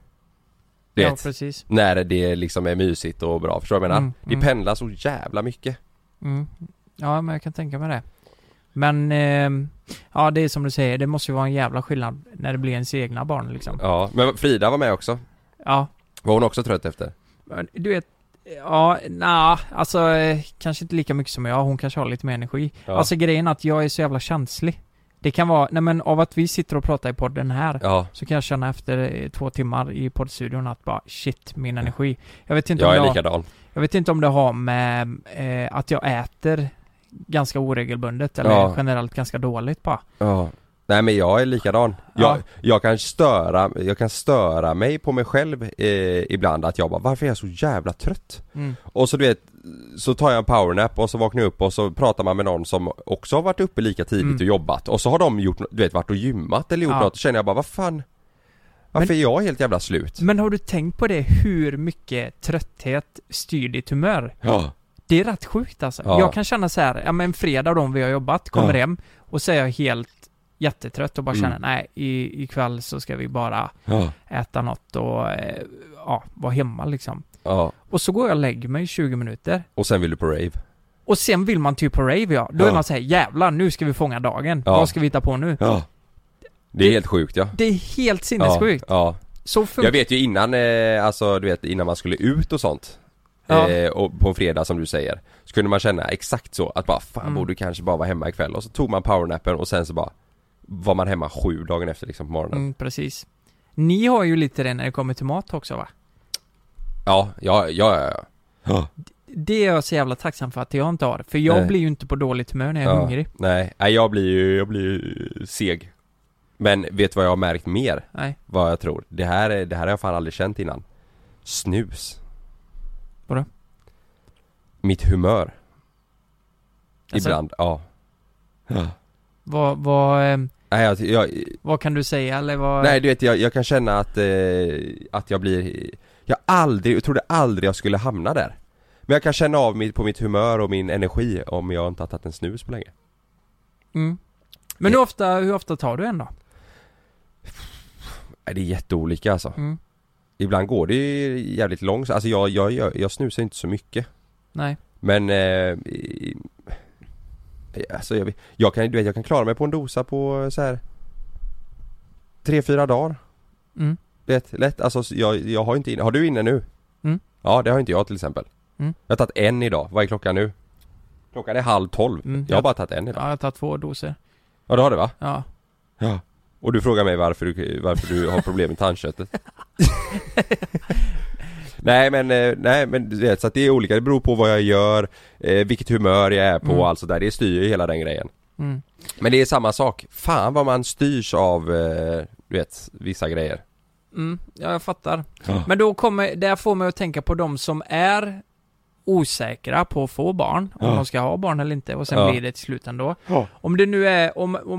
Speaker 1: Du
Speaker 2: Ja,
Speaker 1: vet,
Speaker 2: precis.
Speaker 1: när det liksom är mysigt och bra, förstår du vad jag menar?
Speaker 2: Mm,
Speaker 1: det
Speaker 2: mm.
Speaker 1: pendlar så jävla mycket
Speaker 2: Mm. Ja, men jag kan tänka mig det. Men, ehm, ja det är som du säger, det måste ju vara en jävla skillnad när det blir ens egna barn liksom.
Speaker 1: Ja, men Frida var med också
Speaker 2: Ja,
Speaker 1: Var hon också trött efter?
Speaker 2: men du vet, ja, nja, alltså eh, kanske inte lika mycket som jag, hon kanske har lite mer energi.
Speaker 1: Ja.
Speaker 2: Alltså grejen är att jag är så jävla känslig. Det kan vara, nej men av att vi sitter och pratar i podden här,
Speaker 1: Ja,
Speaker 2: så kan jag känna efter eh, två timmar i poddstudion att bara shit, min energi. Jag vet inte om
Speaker 1: jag
Speaker 2: jag...
Speaker 1: är likadan
Speaker 2: Jag vet inte om det har med eh, att jag äter ganska oregelbundet eller
Speaker 1: Ja.
Speaker 2: generellt ganska dåligt bara.
Speaker 1: Ja Nej men jag är likadan. Jag,
Speaker 2: Ja.
Speaker 1: jag kan störa, jag kan störa mig på mig själv eh, ibland att jag bara varför är jag så jävla trött? Och så du vet, så tar jag en powernap och så vaknar jag upp och så pratar man med någon som också har varit uppe lika tidigt
Speaker 2: Mm.
Speaker 1: och jobbat och så har de gjort, du vet varit och gymmat eller gjort
Speaker 2: Ja.
Speaker 1: något och känner jag bara vad fan Varför
Speaker 2: Men-
Speaker 1: är jag helt jävla slut?
Speaker 2: Men har du tänkt på det hur mycket trötthet styr ditt humör?
Speaker 1: Ja,
Speaker 2: Det är rätt sjukt alltså.
Speaker 1: Ja.
Speaker 2: Jag kan känna så här, ja men fredag då om vi har jobbat, kommer
Speaker 1: Ja.
Speaker 2: hem och så är jag helt jättetrött och bara
Speaker 1: Mm.
Speaker 2: känner nej i, ikväll så ska vi bara
Speaker 1: ja,
Speaker 2: äta något och eh, ja, vara hemma liksom.
Speaker 1: ja.
Speaker 2: Och så går jag och lägger mig i 20 minuter.
Speaker 1: Och sen vill du på rave?
Speaker 2: Och sen vill man typ på rave ja. Då
Speaker 1: Ja.
Speaker 2: är man såhär, jävlar nu ska vi fånga dagen.
Speaker 1: Ja.
Speaker 2: Vad ska vi hitta på nu?
Speaker 1: Ja Det är helt sjukt ja
Speaker 2: Det är helt sinnessjukt.
Speaker 1: Ja, ja.
Speaker 2: Så
Speaker 1: Jag
Speaker 2: funkar
Speaker 1: vet ju innan, eh, alltså du vet innan man skulle ut och sånt
Speaker 2: Ja.
Speaker 1: eh, och på en fredag som du säger Så kunde man känna exakt så att bara fan
Speaker 2: Mm.
Speaker 1: borde kanske bara vara hemma ikväll och så tog man powernappen och sen så bara Var man hemma sju dagen efter liksom på morgonen
Speaker 2: mm, precis. Ni har ju lite det när det kommer till mat också va?
Speaker 1: Ja, ja, ja, ja, ja.
Speaker 2: Det är jag så jävla tacksam för att jag inte har. För jag
Speaker 1: Nej.
Speaker 2: blir ju inte på dåligt humör när jag är
Speaker 1: ja.
Speaker 2: hungrig.
Speaker 1: Nej, nej jag blir ju, jag blir ju seg Men vet du vad jag har märkt mer?
Speaker 2: Nej.
Speaker 1: Vad jag tror? Det här, är- det här har jag fan aldrig känt innan Snus
Speaker 2: Vadå?
Speaker 1: Mitt humör
Speaker 2: Alltså-
Speaker 1: Ibland, ja
Speaker 2: Vad, vad, eh,
Speaker 1: Nej jag, jag,
Speaker 2: vad kan du säga eller vad?
Speaker 1: Nej du vet jag, jag kan känna att, eh, att jag blir Jag aldrig, jag trodde aldrig jag skulle hamna där Men jag kan känna av mitt, på mitt humör och min energi om jag inte har tagit en snus på länge
Speaker 2: Mm. Men hur ofta, hur ofta tar du en då?
Speaker 1: Nej, Det är jätteolika alltså
Speaker 2: Mm.
Speaker 1: Ibland går det ju jävligt långt, alltså jag, jag, jag, jag snusar inte så mycket
Speaker 2: Nej.
Speaker 1: Men eh, i- Alltså jag, vet- jag kan, du vet, jag kan klara mig på en dosa på eh, så här tre fyra dagar
Speaker 2: Mm.
Speaker 1: Lätt, lätt, alltså så jag, jag har inte inne, har du inne nu?
Speaker 2: Mm.
Speaker 1: Ja det har inte jag till exempel
Speaker 2: Mm.
Speaker 1: Jag har tagit en idag, vad är klockan nu? Klockan är halv tolv,
Speaker 2: Mm.
Speaker 1: jag har bara tagit en
Speaker 2: Ja,
Speaker 1: idag
Speaker 2: jag tar två doser.
Speaker 1: Ja det har du va?
Speaker 2: Ja.
Speaker 1: Ja Och du frågar mig varför du, varför du har problem med tandköttet Nej men, eh, nej men du vet, så att det är olika, det beror på vad jag gör eh, Vilket humör jag är på
Speaker 2: Mm.
Speaker 1: och allt sådär, det styr ju hela den grejen
Speaker 2: Mm.
Speaker 1: Men det är samma sak, fan vad man styrs av, eh, du vet, vissa grejer
Speaker 2: Mm. Ja, jag fattar.
Speaker 1: Ja.
Speaker 2: Men då kommer, det här får mig att tänka på de som är osäkra på att få barn, om
Speaker 1: Ja.
Speaker 2: de ska ha barn eller inte, och sen
Speaker 1: Ja.
Speaker 2: blir det till slut ändå.
Speaker 1: Ja.
Speaker 2: Om det nu är, om, om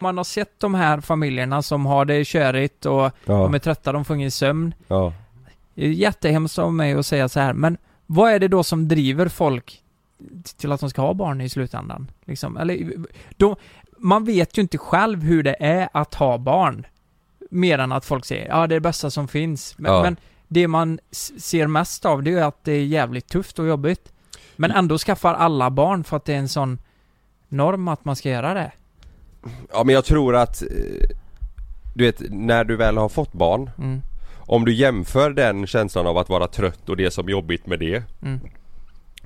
Speaker 2: Man har sett de här familjerna som har det körigt och de är trötta, de får ingen sömn.
Speaker 1: ja.
Speaker 2: Det är jättehemskt av mig att säga så här, men vad är det då som driver folk till att de ska ha barn i slutändan? Liksom, eller, de, man vet ju inte själv hur det är att ha barn. Mer än att folk säger, ja det är det bästa som finns. Men,
Speaker 1: Ja.
Speaker 2: men det man s- ser mest av det är ju att det är jävligt tufft och jobbigt. Men ändå skaffar alla barn för att det är en sån norm att man ska göra det.
Speaker 1: Ja men jag tror att eh, Du vet, när du väl har fått barn
Speaker 2: Mm.
Speaker 1: Om du jämför den känslan av att vara trött och det som är jobbigt med det
Speaker 2: Mm.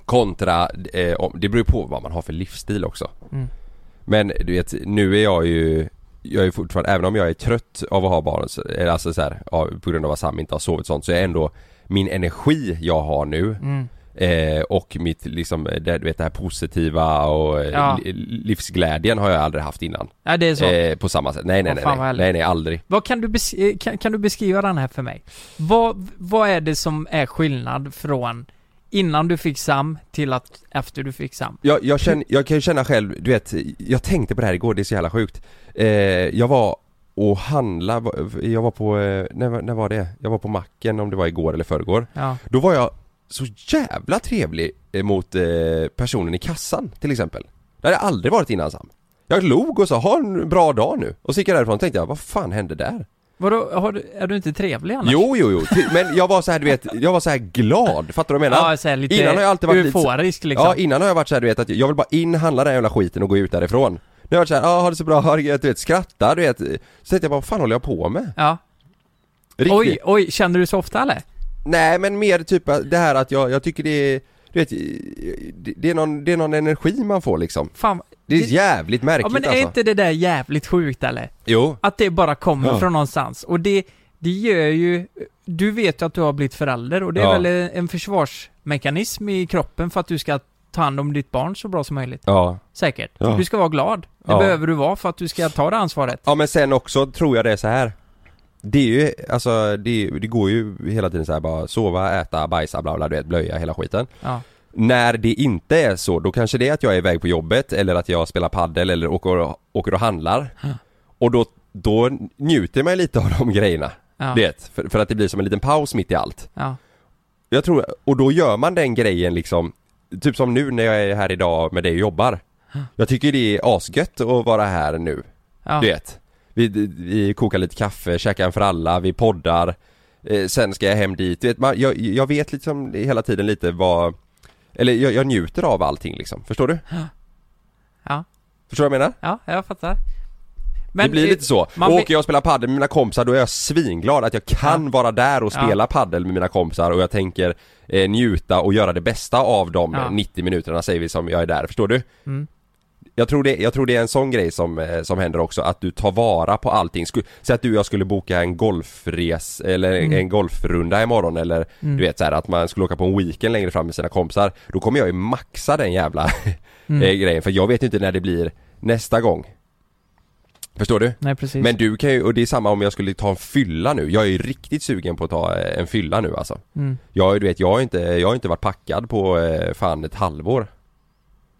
Speaker 1: Kontra, eh, om, det beror ju på vad man har för livsstil också
Speaker 2: Mm.
Speaker 1: Men du vet, nu är jag ju Jag är fortfarande, även om jag är trött av att ha barn så- eller Alltså så här, ja, på grund av att Sam inte har sovit sånt så är ändå Min energi jag har nu
Speaker 2: Mm.
Speaker 1: eh, Och mitt liksom, det, du vet det här positiva och eh,
Speaker 2: Ja.
Speaker 1: li- livsglädjen har jag aldrig haft innan
Speaker 2: Ja, det är så.
Speaker 1: Eh, på samma sätt. Nej nej
Speaker 2: Åh,
Speaker 1: nej,
Speaker 2: fan, vad
Speaker 1: nej.
Speaker 2: härligt.
Speaker 1: nej nej aldrig.
Speaker 2: Vad kan du, bes- eh, kan, kan du beskriva den här för mig? Vad, vad är det som är skillnad från innan du fick SAM till att efter du fick SAM?
Speaker 1: Jag, jag, känner, jag kan ju känna själv, du vet, jag tänkte på det här igår, det är så jävla sjukt. Eh, jag var och handla, jag var på, eh, när, var- när var det? Jag var på macken om det var igår eller förrgår.
Speaker 2: Ja.
Speaker 1: Då var jag så jävla trevlig eh, mot eh, personen i kassan till exempel. Det hade jag aldrig varit innan Sam. Jag log och sa ha en bra dag nu. Och så gick jag därifrån och tänkte jag, vad fan hände där?
Speaker 2: Vadå, har du, är du inte trevlig annars?
Speaker 1: Jo, jo, jo. Ty- Men jag var så här, du vet, jag var så här glad. Fattar du vad jag menar?
Speaker 2: Ja, så här, lite
Speaker 1: Innan har jag alltid varit lite-
Speaker 2: euforisk liksom.
Speaker 1: Ja, innan har jag varit såhär du vet att jag vill bara in, handla den här jävla skiten och gå ut därifrån. Nu har jag varit såhär, ja ah, ha det så bra, ha det gött", du vet, skratta du vet. Så tänkte jag bara, vad fan håller jag på med?
Speaker 2: Ja.
Speaker 1: Riktigt.
Speaker 2: Oj, oj, känner du så ofta eller?
Speaker 1: Nej men mer typ att det här att jag, jag tycker det är, du vet, det, det, är någon, det är någon energi man får liksom.
Speaker 2: Fan.
Speaker 1: Det är jävligt
Speaker 2: Ja
Speaker 1: märkligt
Speaker 2: men är
Speaker 1: alltså.
Speaker 2: inte det där jävligt sjukt eller?
Speaker 1: Jo.
Speaker 2: Att det bara kommer
Speaker 1: Ja.
Speaker 2: från någonstans. Och det, det gör ju... Du vet ju att du har blivit förälder och det är
Speaker 1: Ja.
Speaker 2: väl en- en försvarsmekanism i kroppen för att du ska ta hand om ditt barn så bra som möjligt.
Speaker 1: Ja.
Speaker 2: Säkert.
Speaker 1: Ja.
Speaker 2: Du ska vara glad. Det
Speaker 1: Ja.
Speaker 2: behöver du vara för att du ska ta det ansvaret.
Speaker 1: Ja men sen också tror jag det är så här. Det är ju, alltså det, är- det går ju hela tiden så här bara sova, äta, bajsa, bla bla, du vet, blöja, hela skiten.
Speaker 2: Ja.
Speaker 1: När det inte är så, då kanske det är att jag är iväg på jobbet eller att jag spelar paddel eller åker, och- åker och handlar. Och då, då njuter man ju lite av de grejerna.
Speaker 2: Ja.
Speaker 1: Du vet, för, för att det blir som en liten paus mitt i allt.
Speaker 2: Ja.
Speaker 1: Jag tror, och då gör man den grejen liksom Typ som nu när jag är här idag med dig och jobbar Jag tycker det är asgött att vara här nu
Speaker 2: Ja.
Speaker 1: Du vet vi, vi kokar lite kaffe, käkar en för alla, vi poddar eh, Sen ska jag hem dit, du vet, man, jag, jag vet liksom hela tiden lite vad Eller jag, jag njuter av allting liksom, förstår du?
Speaker 2: Ja.
Speaker 1: Förstår du vad jag menar?
Speaker 2: ja, jag fattar.
Speaker 1: det blir
Speaker 2: eh,
Speaker 1: lite så.
Speaker 2: man
Speaker 1: och
Speaker 2: vet-
Speaker 1: åker jag och spelar padel med mina kompisar då är jag svinglad att jag kan vara där och spela padel med mina kompisar och jag tänker eh, njuta och göra det bästa av de
Speaker 2: Ja.
Speaker 1: eh, 90 minuterna säger vi som jag är där, förstår du? Jag, tror det, jag tror det är en sån grej som, eh, som händer också, att du tar vara på allting. Sku- Säg att du och jag skulle boka en golfres eller en golfrunda imorgon eller du vet så här, att man skulle åka på en weekend längre fram med sina kompisar. Då kommer jag ju maxa den jävla eh, grejen för jag vet ju inte när det blir nästa gång. Förstår du?
Speaker 2: Nej, precis.
Speaker 1: Men du kan ju, och det är samma om jag skulle ta en fylla nu. Jag är ju riktigt sugen på att ta eh, en fylla nu alltså.
Speaker 2: Mm.
Speaker 1: Jag, är- du vet, jag har inte, jag har inte varit packad på eh, fan ett halvår.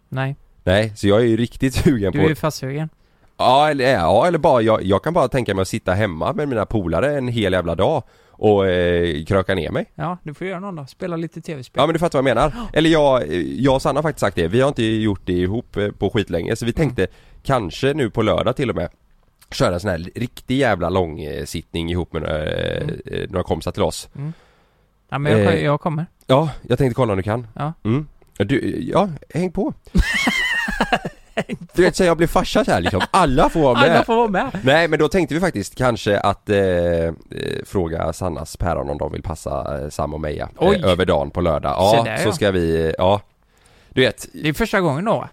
Speaker 2: Nej,
Speaker 1: Nej, så jag är ju riktigt sugen
Speaker 2: du är
Speaker 1: på...
Speaker 2: ju fastsugen.
Speaker 1: Ja eller, ja, eller bara, jag, jag kan bara tänka mig att sitta hemma med mina polare en hel jävla dag och eh, kröka ner mig.
Speaker 2: Ja, du får göra någon då. Spela lite tv-spel.
Speaker 1: Ja men du fattar vad jag menar. Eller jag, jag och Sanna har faktiskt sagt det, vi har inte gjort det ihop eh, på skitlänge så vi tänkte kanske nu på lördag till och med köra en sån här riktig jävla lång eh, sittning ihop med några, eh, eh, några kompisar till oss.
Speaker 2: Ja, men jag,
Speaker 1: eh,
Speaker 2: jag kommer.
Speaker 1: Ja, jag tänkte kolla om du kan.
Speaker 2: Ja.
Speaker 1: Mm. Du, ja, häng på. du vet så jag blir farsa så här liksom, alla får vara med.
Speaker 2: Alla får vara med.
Speaker 1: Nej men då tänkte vi faktiskt kanske att eh, eh, fråga Sannas päron om de vill passa eh, Sam och Meja
Speaker 2: Oj.
Speaker 1: eh, över dagen på lördag.
Speaker 2: Se
Speaker 1: Ja,
Speaker 2: där,
Speaker 1: så
Speaker 2: ja.
Speaker 1: ska vi, eh, ja. Du vet.
Speaker 2: Det är första gången då,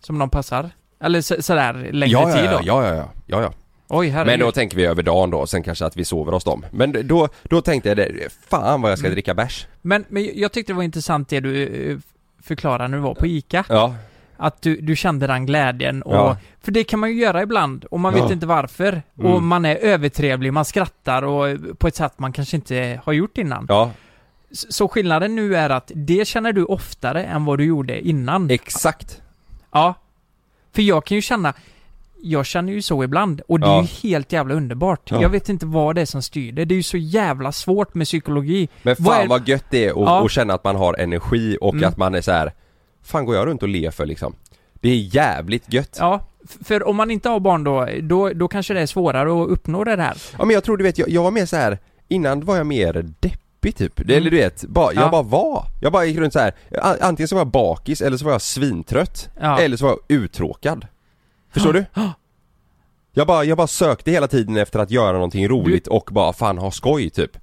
Speaker 2: som de passar. Eller så, sådär längre
Speaker 1: Ja,
Speaker 2: tid
Speaker 1: ja,
Speaker 2: då.
Speaker 1: ja, ja, ja, ja, ja.
Speaker 2: Oj, herregud.
Speaker 1: Men då tänker vi över dagen då, sen kanske att vi sover hos dem. Men då, då tänkte jag det, fan vad jag ska
Speaker 2: Mm.
Speaker 1: dricka bärs.
Speaker 2: Men, men jag tyckte det var intressant det du eh, förklarade när du var på ICA.
Speaker 1: Ja,
Speaker 2: Att du, du kände den glädjen och...
Speaker 1: Ja.
Speaker 2: För det kan man ju göra ibland och man
Speaker 1: Ja. Mm.
Speaker 2: vet inte varför. Och man är övertrevlig, man skrattar och på ett sätt man kanske inte har gjort innan.
Speaker 1: ja,
Speaker 2: S- Så skillnaden nu är att det känner du oftare än vad du gjorde innan.
Speaker 1: exakt.
Speaker 2: ja. För jag kan ju känna... Jag känner ju så ibland och det är
Speaker 1: Ja.
Speaker 2: ju helt jävla underbart.
Speaker 1: Ja.
Speaker 2: Jag vet inte vad det är som styr det. Det är ju så jävla svårt med psykologi.
Speaker 1: Men fan vad,
Speaker 2: är-
Speaker 1: gött det är att
Speaker 2: Ja. Mm.
Speaker 1: att känna att man har energi och att man är så här. fan går jag runt och ler för liksom? Det är jävligt gött.
Speaker 2: Ja, f- för om man inte har barn då, då, då kanske det är svårare att uppnå det här.
Speaker 1: Ja men jag tror du vet, jag, jag var mer så här. innan var jag mer deppig typ, Det- eller du vet, bara,
Speaker 2: Ja.
Speaker 1: jag bara var. Jag bara gick runt så här. a- antingen så var jag bakis eller så var jag svintrött,
Speaker 2: Ja.
Speaker 1: eller så var jag uttråkad. Förstår du? Jag bara, jag bara sökte hela tiden efter att göra någonting roligt och bara fan ha skoj typ.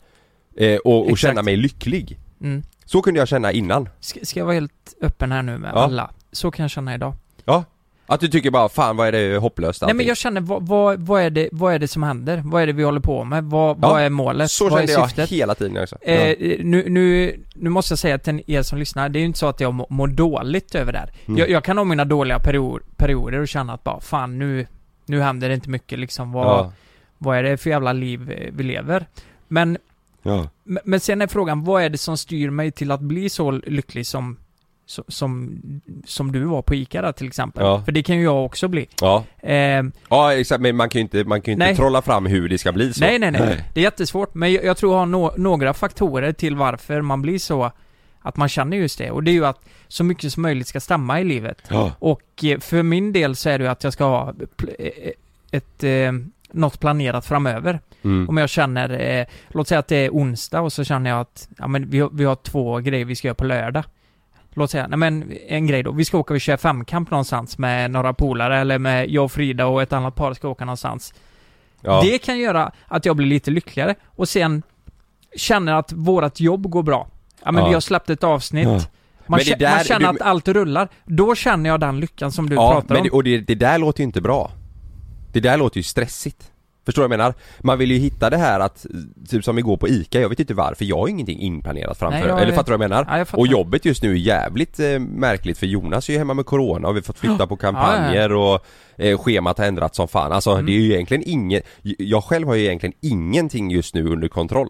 Speaker 1: Eh, och, och
Speaker 2: Exakt.
Speaker 1: känna mig lycklig.
Speaker 2: Mm.
Speaker 1: Så kunde jag känna innan.
Speaker 2: Ska, ska jag vara helt öppen här nu med
Speaker 1: Ja.
Speaker 2: alla? Så kan jag känna idag.
Speaker 1: Ja. Att du tycker bara fan vad är det hopplöst
Speaker 2: Nej men
Speaker 1: allting.
Speaker 2: jag känner, vad, vad, vad, är det, vad är det som händer? Vad är det vi håller på med? Vad,
Speaker 1: Ja,
Speaker 2: vad är målet?
Speaker 1: Så
Speaker 2: vad är
Speaker 1: kände jag
Speaker 2: syftet?
Speaker 1: hela tiden också.
Speaker 2: Eh, nu, nu, nu måste jag säga till er som lyssnar, det är ju inte så att jag må- mår dåligt över det här.
Speaker 1: Mm.
Speaker 2: Jag, jag kan ha mina dåliga perior, perioder och känna att bara fan nu, nu händer det inte mycket liksom. Vad,
Speaker 1: Ja.
Speaker 2: vad är det för jävla liv eh, vi lever? Men
Speaker 1: Ja.
Speaker 2: Men- Men sen är frågan, vad är det som styr mig till att bli så lycklig som, som, som, som du var på ICA där till exempel?
Speaker 1: Ja.
Speaker 2: För det kan ju jag också bli.
Speaker 1: ja.
Speaker 2: Eh,
Speaker 1: Ja exakt, men man kan ju inte, man kan ju inte
Speaker 2: Nej.
Speaker 1: trolla fram hur det ska bli så
Speaker 2: nej, nej, nej, Det är jättesvårt. Men jag, jag tror jag har nå- några faktorer till varför man blir så, att man känner just det. Och det är ju att så mycket som möjligt ska stämma i livet.
Speaker 1: Ja.
Speaker 2: Och eh, för min del så är det ju att jag ska ha pl- eh, ett, eh, något planerat framöver.
Speaker 1: Mm.
Speaker 2: Om jag känner, eh, låt säga att det är onsdag och så känner jag att ja, men vi, har, vi har två grejer vi ska göra på lördag. Låt säga, nej men en grej då, vi ska åka och köra femkamp någonstans med några polare eller med jag och Frida och ett annat par ska åka någonstans.
Speaker 1: Ja.
Speaker 2: Det kan göra att jag blir lite lyckligare och sen känner att vårat jobb går bra. Ja men
Speaker 1: Ja.
Speaker 2: vi har släppt ett avsnitt.
Speaker 1: Ja.
Speaker 2: Man,
Speaker 1: Men det
Speaker 2: kä-
Speaker 1: där-
Speaker 2: man känner
Speaker 1: du-
Speaker 2: att allt rullar. Då känner jag den lyckan som du
Speaker 1: ja,
Speaker 2: pratar
Speaker 1: men
Speaker 2: om.
Speaker 1: det, och det, det där låter ju inte bra Det där låter ju stressigt Förstår du vad jag menar? Man vill ju hitta det här att, typ som igår på ICA, jag vet inte varför, jag har ju ingenting inplanerat framför,
Speaker 2: Nej, jag
Speaker 1: eller
Speaker 2: vet.
Speaker 1: fattar du vad jag menar?
Speaker 2: Ja, jag fattar.
Speaker 1: och jobbet just nu är jävligt eh, märkligt för Jonas är ju hemma med Corona och vi har fått flytta på kampanjer och eh, schemat har ändrats som fan, alltså
Speaker 2: Mm.
Speaker 1: det är ju egentligen ingen, jag själv har ju egentligen ingenting just nu under kontroll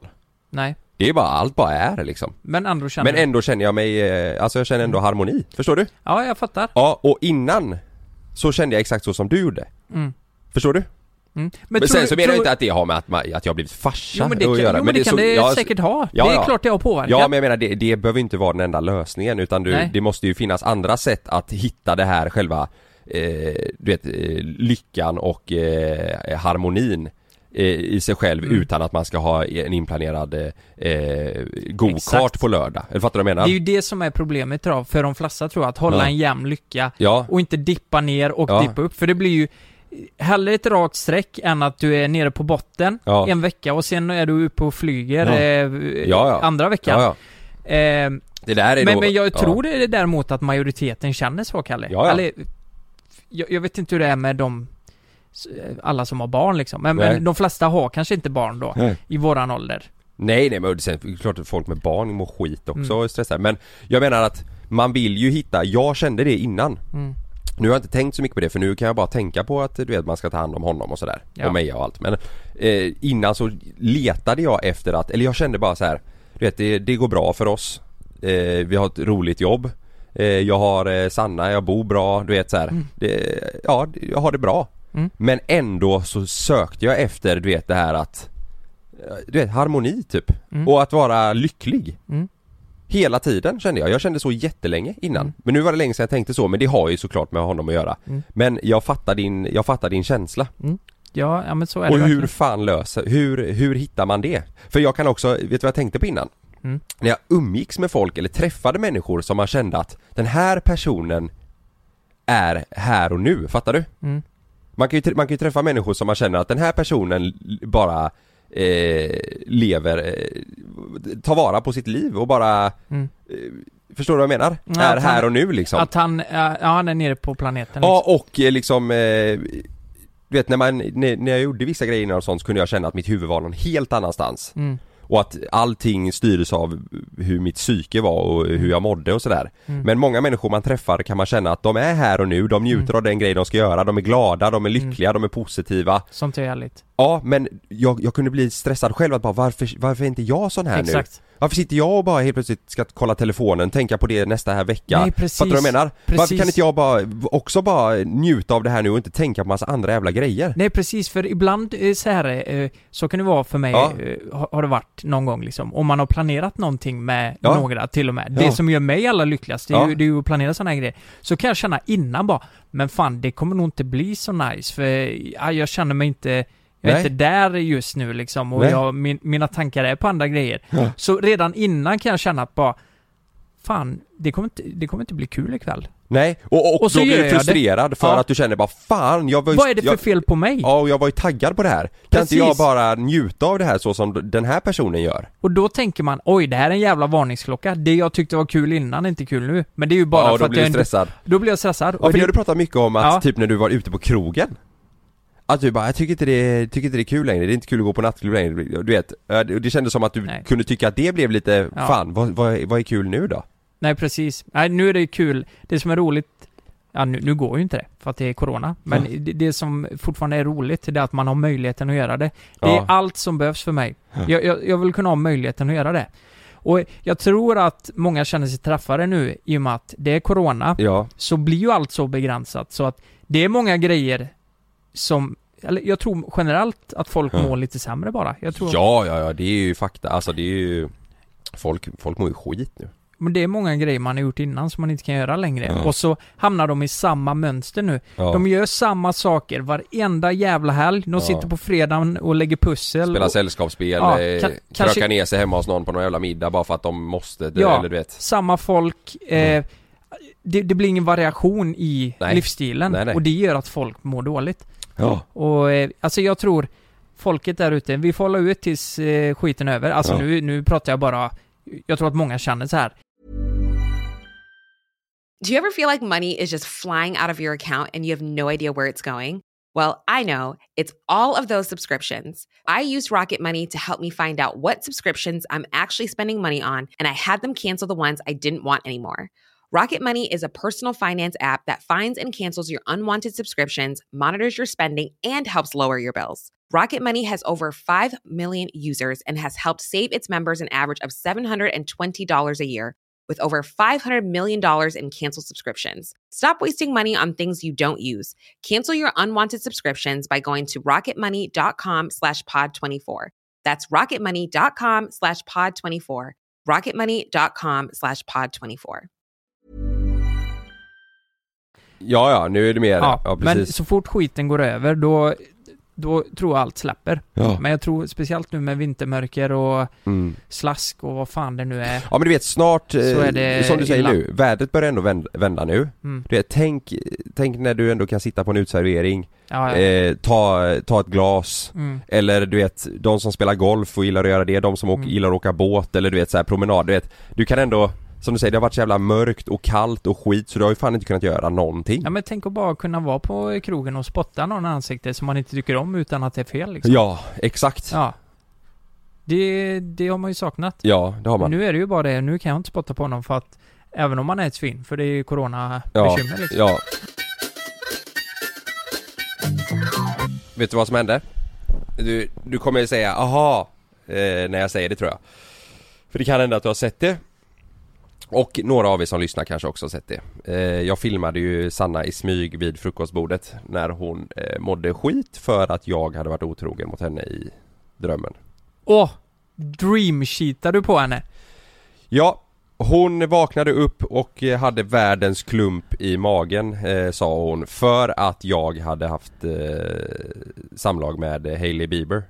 Speaker 2: Nej.
Speaker 1: Det är bara, allt bara är liksom
Speaker 2: Men ändå känner
Speaker 1: Men
Speaker 2: jag.
Speaker 1: ändå känner jag mig, eh, alltså jag känner ändå harmoni, förstår du?
Speaker 2: Mm. Ja, jag fattar.
Speaker 1: Ja, och innan så kände jag exakt så som du gjorde. Förstår du?
Speaker 2: Mm.
Speaker 1: Men
Speaker 2: tror
Speaker 1: sen
Speaker 2: du-
Speaker 1: så menar
Speaker 2: tror-
Speaker 1: jag inte att det har med att, man, att jag har blivit farsa
Speaker 2: Jo men det kan,
Speaker 1: att göra.
Speaker 2: jo, men det,
Speaker 1: är
Speaker 2: kan
Speaker 1: så-
Speaker 2: det
Speaker 1: ja,
Speaker 2: säkert ha.
Speaker 1: ja,
Speaker 2: det är
Speaker 1: ja.
Speaker 2: klart det har påverkat.
Speaker 1: Ja men jag menar det, det behöver inte vara den enda lösningen utan du,
Speaker 2: Nej.
Speaker 1: det måste ju finnas andra sätt att hitta det här själva eh, du vet, eh, lyckan och eh, harmonin eh, i sig själv
Speaker 2: Mm.
Speaker 1: utan att man ska ha en inplanerad eh, eh, go-kart
Speaker 2: Exakt.
Speaker 1: på lördag. Eller Fattar du vad jag menar?
Speaker 2: Det är ju det som är problemet då, för de flesta tror jag, att hålla
Speaker 1: Ja.
Speaker 2: en jämn lycka
Speaker 1: Ja.
Speaker 2: och inte dippa ner och
Speaker 1: Ja.
Speaker 2: dippa upp. För det blir ju hellre ett rakt streck än att du är nere på botten
Speaker 1: Ja.
Speaker 2: en vecka och sen är du uppe och flyger
Speaker 1: Ja.
Speaker 2: Eh,
Speaker 1: Ja, ja.
Speaker 2: andra veckan.
Speaker 1: ja, ja.
Speaker 2: Eh,
Speaker 1: Det där är
Speaker 2: men,
Speaker 1: då,
Speaker 2: men jag
Speaker 1: ja.
Speaker 2: tror det är däremot att majoriteten känner så, Kalle.
Speaker 1: Ja, ja.
Speaker 2: Eller, jag, jag vet inte hur det är med de alla som har barn liksom. Men,
Speaker 1: Nej.
Speaker 2: men de flesta har kanske inte barn då,
Speaker 1: Nej.
Speaker 2: i våran ålder.
Speaker 1: Nej nej men sen, är det klart att folk med barn mår skit också
Speaker 2: Mm.
Speaker 1: och stressar men jag menar att man vill ju hitta, jag kände det innan Nu har jag inte tänkt så mycket på det för nu kan jag bara tänka på att du vet man ska ta hand om honom och sådär
Speaker 2: Ja.
Speaker 1: och mig och allt men eh, Innan så letade jag efter att, eller jag kände bara så här. Du vet det, det går bra för oss eh, Vi har ett roligt jobb eh, Jag har eh, Sanna, jag bor bra, du vet så här. Det, ja, jag har det bra
Speaker 2: Mm.
Speaker 1: Men ändå så sökte jag efter du vet det här att eh, Du vet harmoni typ
Speaker 2: Mm.
Speaker 1: och att vara lycklig
Speaker 2: Mm.
Speaker 1: Hela tiden kände jag, jag kände så jättelänge innan
Speaker 2: Mm.
Speaker 1: Men nu var det länge sedan jag tänkte så men det har ju såklart med honom att göra
Speaker 2: Mm.
Speaker 1: Men jag fattar din, jag fattar din känsla
Speaker 2: Ja, ja men så är
Speaker 1: och
Speaker 2: det
Speaker 1: hur
Speaker 2: verkligen.
Speaker 1: fan löser, hur, hur hittar man det? För jag kan också, vet du vad jag tänkte på innan?
Speaker 2: Mm.
Speaker 1: När jag umgicks med folk eller träffade människor som man kände att den här personen är här och nu, fattar du?
Speaker 2: Mm.
Speaker 1: Man kan ju, tr- man kan ju träffa människor som man känner att den här personen l- bara eh, lever, eh, tar vara på sitt liv och bara
Speaker 2: Mm.
Speaker 1: eh, Förstår du vad jag menar?
Speaker 2: Ja,
Speaker 1: är
Speaker 2: att
Speaker 1: här
Speaker 2: han-
Speaker 1: och nu liksom
Speaker 2: Att han, eh, ja han är nere på planeten
Speaker 1: Ja
Speaker 2: liksom.
Speaker 1: och eh, liksom eh, Du vet när man, när, när jag gjorde vissa grejer innan och sånt så kunde jag känna att mitt huvud var någon helt annanstans
Speaker 2: Mm.
Speaker 1: Och att allting styrdes av hur mitt psyke var och hur jag mådde och sådär
Speaker 2: Mm.
Speaker 1: Men många människor man träffar kan man känna att de är här och nu, de njuter
Speaker 2: Mm.
Speaker 1: av den grej de ska göra, de är glada, de är lyckliga, de är positiva
Speaker 2: Sånt är härligt.
Speaker 1: Ja men jag, jag kunde bli stressad själv att bara varför, varför är inte jag sån här nu?
Speaker 2: Exakt.
Speaker 1: Varför sitter jag och bara helt plötsligt ska kolla telefonen, tänka på det nästa här vecka?
Speaker 2: Nej, precis.
Speaker 1: Fattar du vad jag menar? Varför
Speaker 2: Precis.
Speaker 1: kan inte jag bara, också bara njuta av det här nu och inte tänka på massa andra jävla grejer?
Speaker 2: Nej precis, för ibland eh, så här, eh, så kan det vara för mig,
Speaker 1: Ja.
Speaker 2: eh, har- har det varit någon gång liksom. Om man har planerat någonting med
Speaker 1: Ja.
Speaker 2: några till och med.
Speaker 1: Ja.
Speaker 2: Det som gör mig allra lyckligast, det är,
Speaker 1: Ja.
Speaker 2: ju, det är ju att planera sådana här grejer. Så kan jag känna innan bara, men fan det kommer nog inte bli så nice för ja, jag känner mig inte jag är
Speaker 1: Nej.
Speaker 2: inte där just nu liksom och
Speaker 1: Nej.
Speaker 2: jag, min, mina tankar är på andra grejer.
Speaker 1: Ja.
Speaker 2: Så redan innan kan jag känna att bara, fan, det kommer inte, det kommer inte bli kul ikväll.
Speaker 1: Nej, och, och,
Speaker 2: Och så
Speaker 1: då blir
Speaker 2: gör
Speaker 1: du
Speaker 2: jag det.
Speaker 1: frustrerad för
Speaker 2: Ja.
Speaker 1: att du känner bara fan, jag var ju-
Speaker 2: Vad är det för
Speaker 1: jag,
Speaker 2: fel på mig?
Speaker 1: Ja, och jag var ju taggad på det här. Kan inte
Speaker 2: Precis.
Speaker 1: jag bara njuta av det här så som den här personen gör?
Speaker 2: Och då tänker man, oj det här är en jävla varningsklocka. Det jag tyckte var kul innan är inte kul nu. Men det är ju bara
Speaker 1: ja, och
Speaker 2: för
Speaker 1: då
Speaker 2: att
Speaker 1: blir
Speaker 2: jag
Speaker 1: du
Speaker 2: inte-
Speaker 1: stressad.
Speaker 2: Då blir jag stressad.
Speaker 1: Ja,
Speaker 2: Och
Speaker 1: för
Speaker 2: det-
Speaker 1: det har du pratat mycket om att
Speaker 2: Ja.
Speaker 1: typ när du var ute på krogen Att du bara, jag tycker inte det, tycker inte det är kul längre, det är inte kul att gå på nattklubb längre, du vet eh, Det det kändes som att du
Speaker 2: Nej.
Speaker 1: kunde tycka att det blev lite,
Speaker 2: Ja.
Speaker 1: fan vad, vad, vad är kul nu då?
Speaker 2: Nej precis. Nej nu är det ju kul. Det som är roligt, ja nu, nu går ju inte det för att det är corona. Men det, det som fortfarande är roligt, det är att man har möjligheten att göra det. Det
Speaker 1: Ja.
Speaker 2: är allt som behövs för mig. Jag, jag, jag vill kunna ha möjligheten att göra det. Och jag tror att många känner sig träffade nu i och med att det är corona.
Speaker 1: Ja,
Speaker 2: så blir ju allt så begränsat så att det är många grejer som, eller jag tror generellt att folk
Speaker 1: Ja.
Speaker 2: mår lite sämre bara. Jag tror,
Speaker 1: ja, ja, ja det är ju fakta, alltså det är ju Folk, folk mår ju skit nu
Speaker 2: men det är många grejer man har gjort innan som man inte kan göra längre.
Speaker 1: Ja.
Speaker 2: Och så hamnar de i samma mönster nu.
Speaker 1: ja.
Speaker 2: De gör samma saker varenda jävla helg. De
Speaker 1: Ja.
Speaker 2: sitter på fredagen och lägger pussel.
Speaker 1: Spelar
Speaker 2: och,
Speaker 1: sällskapsspel,
Speaker 2: Ja,
Speaker 1: eh,
Speaker 2: ka-
Speaker 1: krökar
Speaker 2: kanske-
Speaker 1: ner sig hemma hos någon på någon jävla middag bara för att de måste, det-
Speaker 2: Ja.
Speaker 1: eller du vet
Speaker 2: samma folk. Eh, det, det blir ingen variation i
Speaker 1: Mm. Nej.
Speaker 2: livsstilen.
Speaker 1: Nej, nej.
Speaker 2: Och det gör att folk mår dåligt.
Speaker 1: Ja,
Speaker 2: Och eh, alltså jag tror folket där ute, vi får hålla ut tills eh, skiten är över. Alltså
Speaker 1: Ja.
Speaker 2: nu, nu pratar jag bara, jag tror att många känner så här.
Speaker 3: Do you ever feel like money is just flying out of your account and you have no idea where it's going? Well, I know it's all of those subscriptions. I used Rocket Money to help me find out what subscriptions I'm actually spending money on, and I had them cancel the ones I didn't want anymore. Rocket Money is a personal finance app that finds and cancels your unwanted subscriptions, monitors your spending, and helps lower your bills. Rocket Money has over 5 million users and has helped save its members an average of $720 a year with over $500 million in canceled subscriptions. Stop wasting money on things you don't use. Cancel your unwanted subscriptions by going to rocketmoney.com slash pod24. That's rocketmoney.com slash pod24. rocketmoney.com slash pod24.
Speaker 1: ja, ja nu är det mer, ja,
Speaker 2: men
Speaker 1: precis
Speaker 2: så fort skiten går över då, då tror jag allt släpper.
Speaker 1: ja.
Speaker 2: Men jag tror speciellt nu med vintermörker och
Speaker 1: Mm.
Speaker 2: slask och vad fan det nu är.
Speaker 1: Ja men du vet snart, eh,
Speaker 2: Så är det
Speaker 1: som du säger
Speaker 2: illa.
Speaker 1: nu, vädret börjar ändå vända, vända nu.
Speaker 2: Mm.
Speaker 1: Du vet, tänk, tänk när du ändå kan sitta på en uteservering,
Speaker 2: Ja, ja.
Speaker 1: eh, ta, ta ett glas
Speaker 2: Mm.
Speaker 1: eller du vet, de som spelar golf och gillar att göra det, de som åker,
Speaker 2: Mm.
Speaker 1: gillar att åka båt eller du vet så här promenad, du vet Du kan ändå, som du säger, det har varit så jävla mörkt och kallt och skit så du har ju fan inte kunnat göra någonting
Speaker 2: ja men tänk att bara kunna vara på krogen och spotta någon i ansiktet som man inte tycker om utan att det är fel liksom.
Speaker 1: Ja, exakt ja.
Speaker 2: Ja. Det, det har man ju saknat.
Speaker 1: det har man
Speaker 2: Nu är det ju bara det, nu kan jag inte spotta på honom för att Även om man är ett svin, för det är ju
Speaker 1: ja.
Speaker 2: coronabekymmer liksom.
Speaker 1: ja Vet du vad som hände? Du, du kommer ju säga aha eh, när jag säger det tror jag För det kan hända att du har sett det Och några av er som lyssnar kanske också har sett det. Eh, jag filmade ju Sanna i smyg vid frukostbordet när hon eh, mådde skit för att jag hade varit otrogen mot henne i drömmen.
Speaker 2: Åh! Dreamcheatar du på henne?
Speaker 1: Ja, hon vaknade upp och eh, hade världens klump i magen eh, sa hon för att jag hade haft eh, samlag med eh, Hailey Bieber.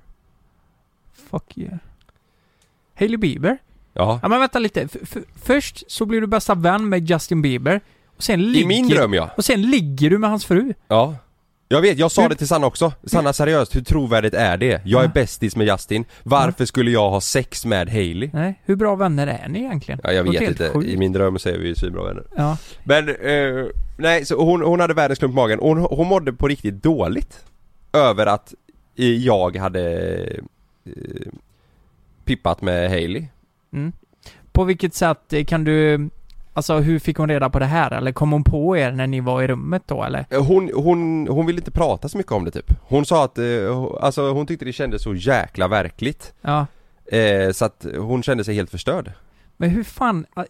Speaker 2: Fuck yeah. Hailey Bieber?
Speaker 1: Ja,
Speaker 2: Ja men vänta lite. F- f- först så blir du bästa vän med Justin Bieber. Och sen ligger,
Speaker 1: i min dröm ja.
Speaker 2: Och sen ligger du med hans fru.
Speaker 1: Ja jag vet, jag sa
Speaker 2: Hur-
Speaker 1: det till Sanna också. Sanna seriöst, hur trovärdigt är det? Jag är bästis med Justin, varför skulle jag ha sex med Hailey?
Speaker 2: Nej, hur bra vänner är ni egentligen?
Speaker 1: Ja, jag
Speaker 2: Låter
Speaker 1: vet
Speaker 2: helt
Speaker 1: inte,
Speaker 2: sjukt.
Speaker 1: i min dröm så är vi ju svinbra vänner
Speaker 2: Ja.
Speaker 1: Men, eh, nej så hon, hon hade världens klump i magen, hon, hon mådde på riktigt dåligt Över att eh, jag hade eh, pippat med Hailey
Speaker 2: På vilket sätt eh, kan du... Alltså hur fick hon reda på det här? Eller kom hon på er när ni var i rummet då eller?
Speaker 1: Eh, Hon, hon, hon ville inte prata så mycket om det typ Hon sa att, eh, ho- alltså hon tyckte det kändes så jäkla verkligt
Speaker 2: Ja.
Speaker 1: eh, Så att hon kände sig helt förstörd
Speaker 2: Men hur fan... ah,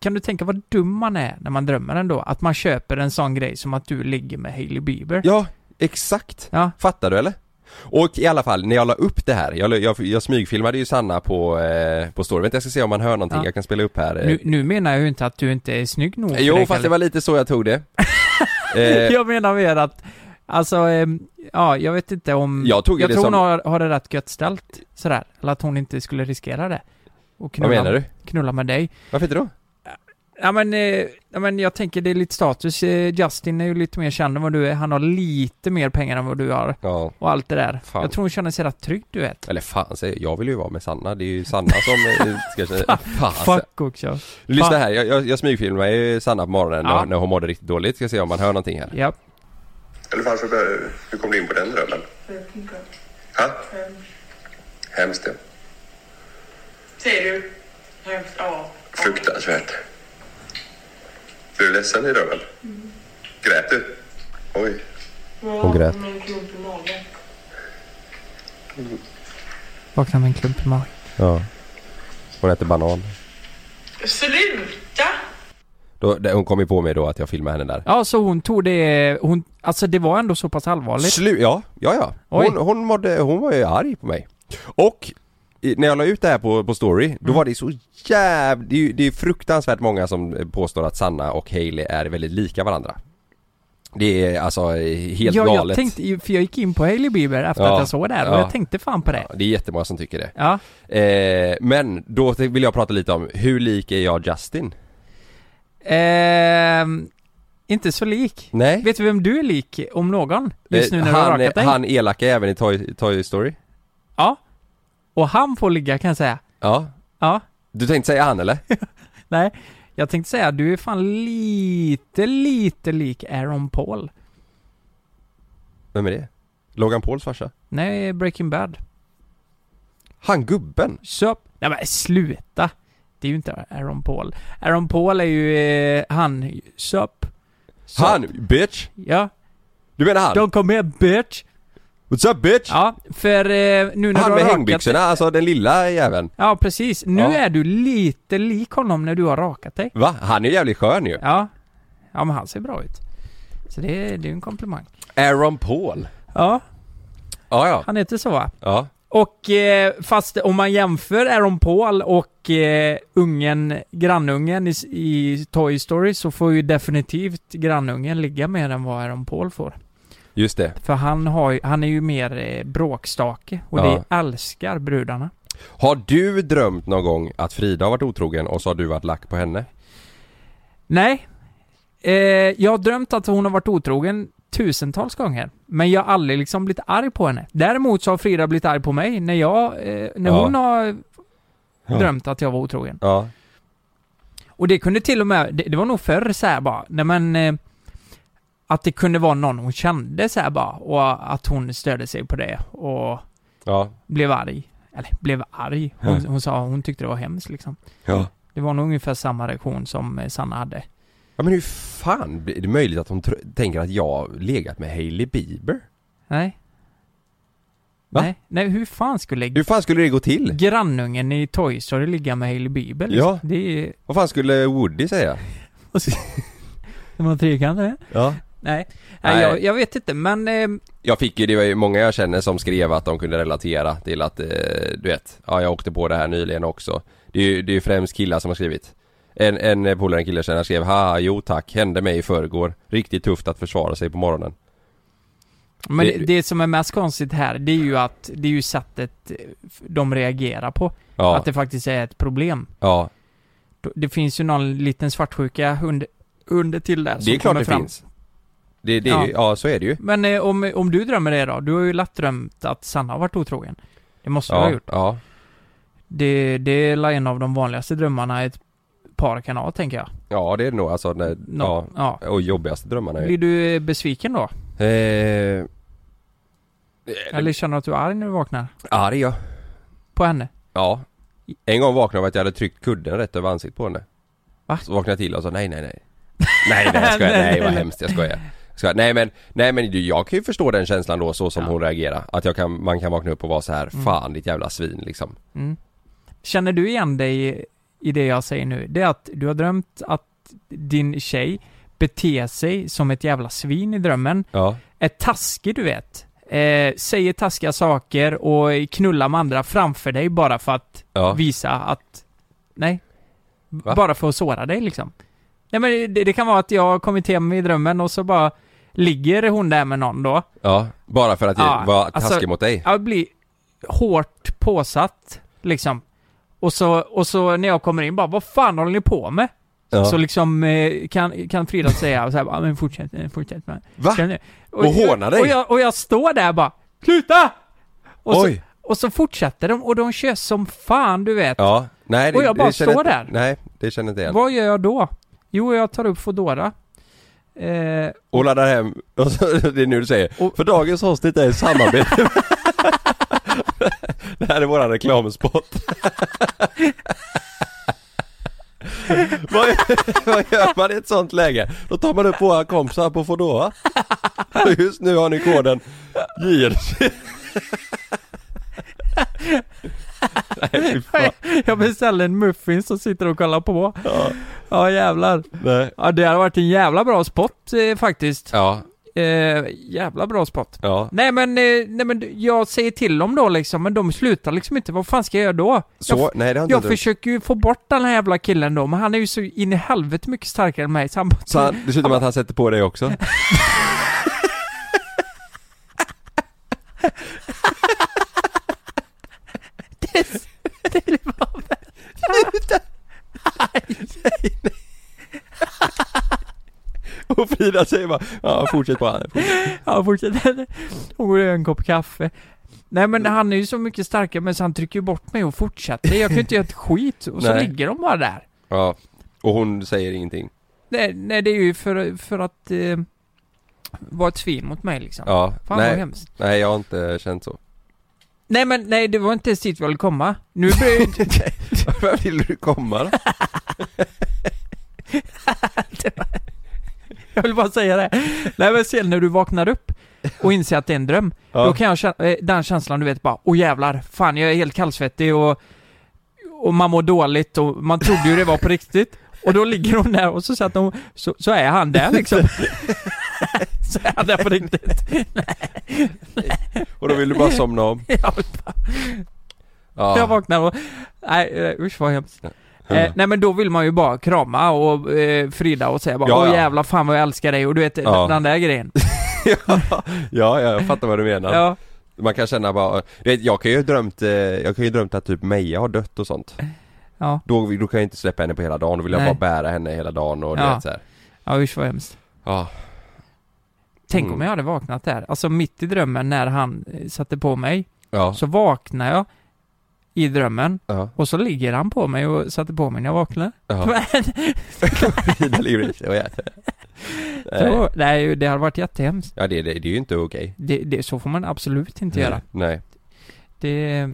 Speaker 2: Kan du tänka vad dum man är när man drömmer ändå? Att man köper en sån grej som att du ligger med Hailey Bieber?
Speaker 1: Ja, exakt!
Speaker 2: Ja.
Speaker 1: Fattar du eller? Och i alla fall, när jag la upp det här, jag, la- jag, jag smygfilmade ju Sanna på, eh, på story, vänta jag ska se om man hör någonting,
Speaker 2: Ja.
Speaker 1: jag kan spela upp här eh.
Speaker 2: Nu, nu menar jag ju inte att du inte är snygg nog. för
Speaker 1: Jo
Speaker 2: det,
Speaker 1: fast
Speaker 2: Kalle.
Speaker 1: det var lite så jag tog det eh,
Speaker 2: Jag menar mer att... Alltså, ehm, ja, jag vet inte om...
Speaker 1: Jag tog ju det
Speaker 2: tror
Speaker 1: som-
Speaker 2: hon har, har det rätt gött ställt sådär. Eller att hon inte skulle riskera det. Och
Speaker 1: Vad
Speaker 2: knulla,
Speaker 1: menar du?
Speaker 2: knulla med dig.
Speaker 1: Varför inte då?
Speaker 2: Ja men, eh, ja men jag tänker det är lite status. Eh, Justin är ju lite mer känd än vad du är. Han har lite mer pengar än vad du har.
Speaker 1: Ja
Speaker 2: Och allt det där.
Speaker 1: Fan.
Speaker 2: Jag tror hon känner sig rätt trygg du vet.
Speaker 1: eller fan, säger jag. jag vill ju vara med Sanna, det är ju Sanna som eh, ska känna... Fan, säger jag.
Speaker 2: Fuck också.
Speaker 1: Lyssna
Speaker 2: Fan.
Speaker 1: här, jag, jag, jag smygfilmar ju Sanna på morgonen
Speaker 2: Ja.
Speaker 1: när, när hon mådde riktigt dåligt, ska se om man hör någonting här
Speaker 2: Ja.
Speaker 4: Eller varför, bör- hur kom du in på den drömmen? Ha? Hemskt ja.
Speaker 5: Säger du? Hemskt, ja.
Speaker 4: Fruktansvärt. Blev du ledsen i drömmen? Grät du? Oj.
Speaker 1: Hon grät.
Speaker 5: Med en klump i magen.
Speaker 2: Vaknar med en klump i magen.
Speaker 1: Ja Hon äter banan
Speaker 5: Sluta!
Speaker 1: då, det- Hon kom ju på mig då att jag filmade henne där
Speaker 2: Ja, så hon tog det... Hon, alltså det var ändå så pass allvarligt.
Speaker 1: Slu ja, ja, ja.
Speaker 2: Oj.
Speaker 1: Hon, hon, mådde, hon var ju arg på mig. Och i- när jag la ut det här på, på story, då
Speaker 2: Mm.
Speaker 1: var det så jäv... Det är, ju- det är fruktansvärt många som påstår att Sanna och Hailey är väldigt lika varandra. Det är alltså helt
Speaker 2: ja, jag
Speaker 1: galet.
Speaker 2: tänkte ju- för jag gick in på Hailey Bieber efter
Speaker 1: Ja,
Speaker 2: att jag såg det här och
Speaker 1: ja.
Speaker 2: jag tänkte fan på det.
Speaker 1: Ja, det är jättemånga som tycker det.
Speaker 2: Ja.
Speaker 1: Eh, men då t- vill jag prata lite om, hur lik är jag Justin?
Speaker 2: Ehm, inte så lik.
Speaker 1: Nej.
Speaker 2: Vet du vem du är lik om någon? Just nu
Speaker 1: Eh,
Speaker 2: när du har
Speaker 1: han,
Speaker 2: rakat dig?
Speaker 1: han elaka även i Toy, Toy Story.
Speaker 2: Ja. Och han får ligga kan jag säga.
Speaker 1: Ja.
Speaker 2: Ja.
Speaker 1: Du tänkte säga han eller?
Speaker 2: Nej, jag tänkte säga du är fan lite, lite lik Aaron Paul.
Speaker 1: Vem är det? Logan Pauls farsa?
Speaker 2: Nej, Breaking Bad.
Speaker 1: Han gubben?
Speaker 2: Sup? Nej men sluta! Det är ju inte Aaron Paul. Aaron Paul är ju eh, han, sup? Sup?
Speaker 1: Han, bitch!
Speaker 2: Ja.
Speaker 1: Du menar han?
Speaker 2: Don't come here bitch!
Speaker 1: What's up bitch?
Speaker 2: Ja, för eh, nu
Speaker 1: han
Speaker 2: när du har
Speaker 1: med
Speaker 2: rakat
Speaker 1: hängbyxorna,
Speaker 2: dig-
Speaker 1: alltså den lilla jäveln.
Speaker 2: Ja, precis. Nu
Speaker 1: Ja.
Speaker 2: är du lite lik honom när du har rakat dig.
Speaker 1: Va? Han är jävligt skön ju.
Speaker 2: Ja. Ja, men han ser bra ut. Så det, det är ju en komplimang.
Speaker 1: Aaron Paul.
Speaker 2: Ja,
Speaker 1: Ja, ja.
Speaker 2: han heter så va?
Speaker 1: Ja.
Speaker 2: Och eh, fast om man jämför Aaron Paul och eh, ungen, grannungen i, i Toy Story så får ju definitivt grannungen ligga mer än vad Aaron Paul får.
Speaker 1: Just det.
Speaker 2: För han, har, ju- han är ju mer eh, bråkstake och
Speaker 1: Ja.
Speaker 2: det älskar brudarna.
Speaker 1: Har du drömt någon gång att Frida har varit otrogen och så har du varit lack på henne?
Speaker 2: Nej, eh, jag har drömt att hon har varit otrogen tusentals gånger. Men jag har aldrig liksom blivit arg på henne. Däremot så har Frida blivit arg på mig när jag, eh, när
Speaker 1: Ja.
Speaker 2: hon har
Speaker 1: Ja.
Speaker 2: drömt att jag var otrogen.
Speaker 1: Ja.
Speaker 2: Och det kunde till och med, det, det var nog förr så här bara, nej men eh, att det kunde vara någon hon kände så här bara och att hon störde sig på det och
Speaker 1: Ja.
Speaker 2: blev arg. Eller blev arg. Hon, hon sa hon tyckte det var hemskt liksom.
Speaker 1: Ja.
Speaker 2: Det var nog ungefär samma reaktion som eh, Sanna hade.
Speaker 1: Ja men hur fan är det möjligt att hon tr- tänker att jag har legat med Hailey Bieber?
Speaker 2: Nej?
Speaker 1: Va?
Speaker 2: Nej, nej, hur fan skulle
Speaker 1: Hur fan skulle det gå till?
Speaker 2: grannungen i Toy Story ligga med Hailey Bieber liksom?
Speaker 1: Ja.
Speaker 2: Det är
Speaker 1: Vad fan skulle Woody säga?
Speaker 2: det var trekant det.
Speaker 1: Ja.
Speaker 2: Nej,
Speaker 1: Nej.
Speaker 2: nej. Jag, jag vet inte men eh,
Speaker 1: Jag fick ju, det var ju många jag känner som skrev att de kunde relatera till att, eh, du vet, ja jag åkte på det här nyligen också. Det är ju, det är ju främst killar som har skrivit. En, en eh, polare, en kille jag känner, skrev haha jo tack, hände mig i förrgår. Riktigt tufft att försvara sig på morgonen.
Speaker 2: Men
Speaker 1: Det-
Speaker 2: det, det som är mest konstigt här, det är ju att det är ju sättet eh, de reagerar på.
Speaker 1: Ja,
Speaker 2: Att det faktiskt är ett problem.
Speaker 1: ja.
Speaker 2: Då- Det finns ju någon liten svartsjuka under, under till där
Speaker 1: det är
Speaker 2: som
Speaker 1: klart
Speaker 2: kommer
Speaker 1: det
Speaker 2: fram.
Speaker 1: finns. Det, det, ja.
Speaker 2: Ja.
Speaker 1: ja så är det ju.
Speaker 2: Men eh, om, om du drömmer det då? Du har ju lätt drömt att Sanna har varit otrogen. Det måste du ha
Speaker 1: Ja,
Speaker 2: gjort.
Speaker 1: ja.
Speaker 2: Det, det är la en av de vanligaste drömmarna ett par kan ha, tänker jag.
Speaker 1: ja det är det nog alltså, när,
Speaker 2: Nå, ja.
Speaker 1: ja. Och jobbigaste drömmarna är ju.
Speaker 2: Blir du eh, besviken då?
Speaker 1: Eh,
Speaker 2: Eller känner du att du är arg när du vaknar?
Speaker 1: arg ja.
Speaker 2: På henne?
Speaker 1: Ja. En gång vaknade jag av att jag hade tryckt kudden rätt över ansiktet på henne.
Speaker 2: Va?
Speaker 1: Så vaknade jag till och sa nej, nej, nej. Nej, nej, jag skojar. Nej, vad hemskt. Jag skojar. Jag skojar. Nej men, nej men du, jag kan ju förstå den känslan då så som
Speaker 2: Ja. Mm.
Speaker 1: hon reagerar. Att jag kan, man kan vakna upp och vara så här, fan ditt jävla svin liksom.
Speaker 2: Känner du igen dig i det jag säger nu? Det är att du har drömt att din tjej beter sig som ett jävla svin i drömmen.
Speaker 1: Ja.
Speaker 2: Är taskig, du vet. Eh, säger taskiga saker och knullar med andra framför dig bara för att
Speaker 1: Ja.
Speaker 2: visa att... Nej.
Speaker 1: Va?
Speaker 2: Bara för att såra dig liksom. Nej men det, det kan vara att jag har kommit hem i drömmen och så bara ligger hon där med någon då.
Speaker 1: Ja. Bara för att jag
Speaker 2: Ja,
Speaker 1: var taskig
Speaker 2: alltså-
Speaker 1: mot dig.
Speaker 2: Jag blir hårt påsatt, liksom. Och så, och så när jag kommer in bara, vad fan håller ni på med?
Speaker 1: Ja.
Speaker 2: Så liksom eh, kan, kan Frida säga så här, bara, men fortsätt, eh, fortsätt med
Speaker 1: Va?
Speaker 2: Känner ni?
Speaker 1: Och håna dig?
Speaker 2: Och jag, och jag står där bara, sluta! Och
Speaker 1: Oj.
Speaker 2: Så, och så fortsätter de och de kör som fan, du vet.
Speaker 1: Ja. Nej,
Speaker 2: Och jag bara
Speaker 1: känner
Speaker 2: står
Speaker 1: inte,
Speaker 2: där.
Speaker 1: Nej, det känner inte jag igen.
Speaker 2: Vad gör jag då? Jo, jag tar upp Foodora. Eh,
Speaker 1: Och laddar hem, och så, det är nu du säger,
Speaker 2: Och-
Speaker 1: för dagens avsnitt är ett samarbete. det här är våran reklamspot. vad, vad gör man i ett sånt läge? Då tar man upp våra kompisar på Foodora. Och just nu har ni koden JLC. Nej, fy fan.
Speaker 2: jag beställer en muffins och sitter och kollar på. Ja, jävlar.
Speaker 1: Nej.
Speaker 2: Ja, det hade varit en jävla bra spot eh, faktiskt.
Speaker 1: Ja,
Speaker 2: Eh, jävla bra spot.
Speaker 1: ja.
Speaker 2: Nej men, eh, nej men jag säger till dem då liksom, men de slutar liksom inte. Vad fan ska jag göra då?
Speaker 1: Så,
Speaker 2: jag
Speaker 1: nej det har inte
Speaker 2: jag
Speaker 1: du.
Speaker 2: försöker ju få bort den här jävla killen då, men han är ju så in i helvete mycket starkare än mig. Så han bara,
Speaker 1: Så han, det slutar med att han sätter på dig också. Och Frida säger bara ja fortsätt bara. fortsätt."
Speaker 2: ja fortsätter. Hon går och gör en kopp kaffe. Nej men han är ju så mycket starkare men så han trycker ju bort mig och fortsätter. Jag kan ju inte göra ett skit. Och så
Speaker 1: Nej.
Speaker 2: ligger de bara där.
Speaker 1: Ja. Och hon säger ingenting.
Speaker 2: Nej, nej det är ju för, för att eh, vara ett svin mot mig liksom.
Speaker 1: Ja.
Speaker 2: Fan vad
Speaker 1: nej,
Speaker 2: hemskt.
Speaker 1: nej jag har inte känt så.
Speaker 2: Nej men nej, det var inte ens dit vi ville komma. Nu börjar
Speaker 1: Var vill du komma då?
Speaker 2: jag vill bara säga det. Nej men sen när du vaknar upp och inser att det är en dröm,
Speaker 1: Ja.
Speaker 2: då kan jag känna, eh, den känslan du vet bara, åh jävlar, fan jag är helt kallsvettig och, och man mår dåligt och man trodde ju det var på riktigt. Och då ligger hon där och så satt hon, så, så är han där liksom. så är han där på riktigt.
Speaker 1: Och då vill du bara somna om.
Speaker 2: Jag, bara, jag vaknar och, nej eh, usch vad hemskt. Eh, nej men då vill man ju bara krama och eh, Frida och säga bara
Speaker 1: Ja,
Speaker 2: Åh
Speaker 1: ja.
Speaker 2: jävlar fan vad jag älskar dig och du vet
Speaker 1: Ja.
Speaker 2: den där grejen.
Speaker 1: Ja, ja, jag fattar vad du menar.
Speaker 2: Ja.
Speaker 1: Man kan känna bara, du vet, jag kan ju ha drömt, eh, jag kan ju ha drömt att typ Meja har dött och sånt.
Speaker 2: Ja.
Speaker 1: Då, då kan jag inte släppa henne på hela dagen, då vill jag
Speaker 2: Nej.
Speaker 1: bara bära henne hela dagen och du
Speaker 2: Ja.
Speaker 1: vet så här.
Speaker 2: Ja usch vad hemskt.
Speaker 1: Ja,
Speaker 2: Tänk
Speaker 1: Mm.
Speaker 2: om jag hade vaknat där. Alltså mitt i drömmen när han eh, satte på mig.
Speaker 1: ja,
Speaker 2: Så vaknar jag i drömmen
Speaker 1: ja,
Speaker 2: och så ligger han på mig och satte på mig när jag vaknar.
Speaker 1: ja. Det ligger i sig och äter. Nej.
Speaker 2: Så, nej det hade varit jättehemskt.
Speaker 1: Ja det, det, det är ju inte okej.
Speaker 2: Det, det, så får man absolut inte göra.
Speaker 1: Nej.
Speaker 2: Det,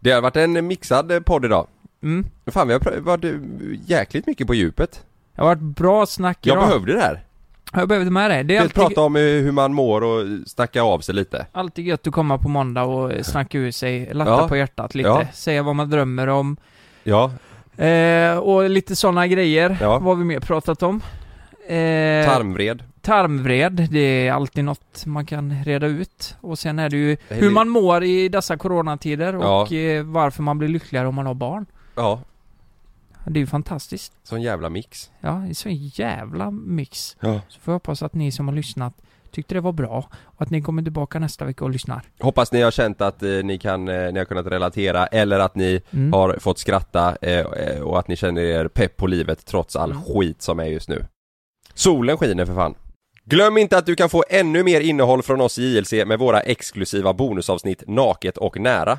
Speaker 1: Det har varit en mixad eh, podd idag.
Speaker 2: mm.
Speaker 1: Fan vi har pr- varit eh, jäkligt mycket på djupet.
Speaker 2: Det har varit bra snack
Speaker 1: Jag
Speaker 2: idag.
Speaker 1: behövde det här.
Speaker 2: Jag behöver ta med det. Det
Speaker 1: Vi
Speaker 2: är alltid,
Speaker 1: prata om eh, hur hur man mår och snacka av sig lite.
Speaker 2: alltid gött att komma på måndag och snacka ur sig, latta
Speaker 1: Ja.
Speaker 2: på hjärtat lite,
Speaker 1: Ja.
Speaker 2: säga vad man drömmer om.
Speaker 1: Ja,
Speaker 2: Eh, och lite sådana grejer,
Speaker 1: Ja.
Speaker 2: vad har vi mer pratat om? Eh,
Speaker 1: tarmvred.
Speaker 2: Tarmvred, det är alltid något man kan reda ut. Och sen är det ju
Speaker 1: Det är
Speaker 2: hur
Speaker 1: li-
Speaker 2: man mår i dessa coronatider och
Speaker 1: Ja.
Speaker 2: eh, varför man blir lyckligare om man har barn.
Speaker 1: Ja,
Speaker 2: Det är ju fantastiskt.
Speaker 1: sån jävla mix.
Speaker 2: Ja, det är så jävla mix.
Speaker 1: Ja.
Speaker 2: Så får jag hoppas att ni som har lyssnat tyckte det var bra och att ni kommer tillbaka nästa vecka och lyssnar.
Speaker 1: Hoppas ni har känt att eh, ni kan, eh, ni har kunnat relatera eller att ni
Speaker 2: Mm.
Speaker 1: har fått skratta eh, eh, och att ni känner er pepp på livet trots all skit som är just nu. Solen skiner för fan. Glöm inte att du kan få ännu mer innehåll från oss i JLC med våra exklusiva bonusavsnitt Naket och nära.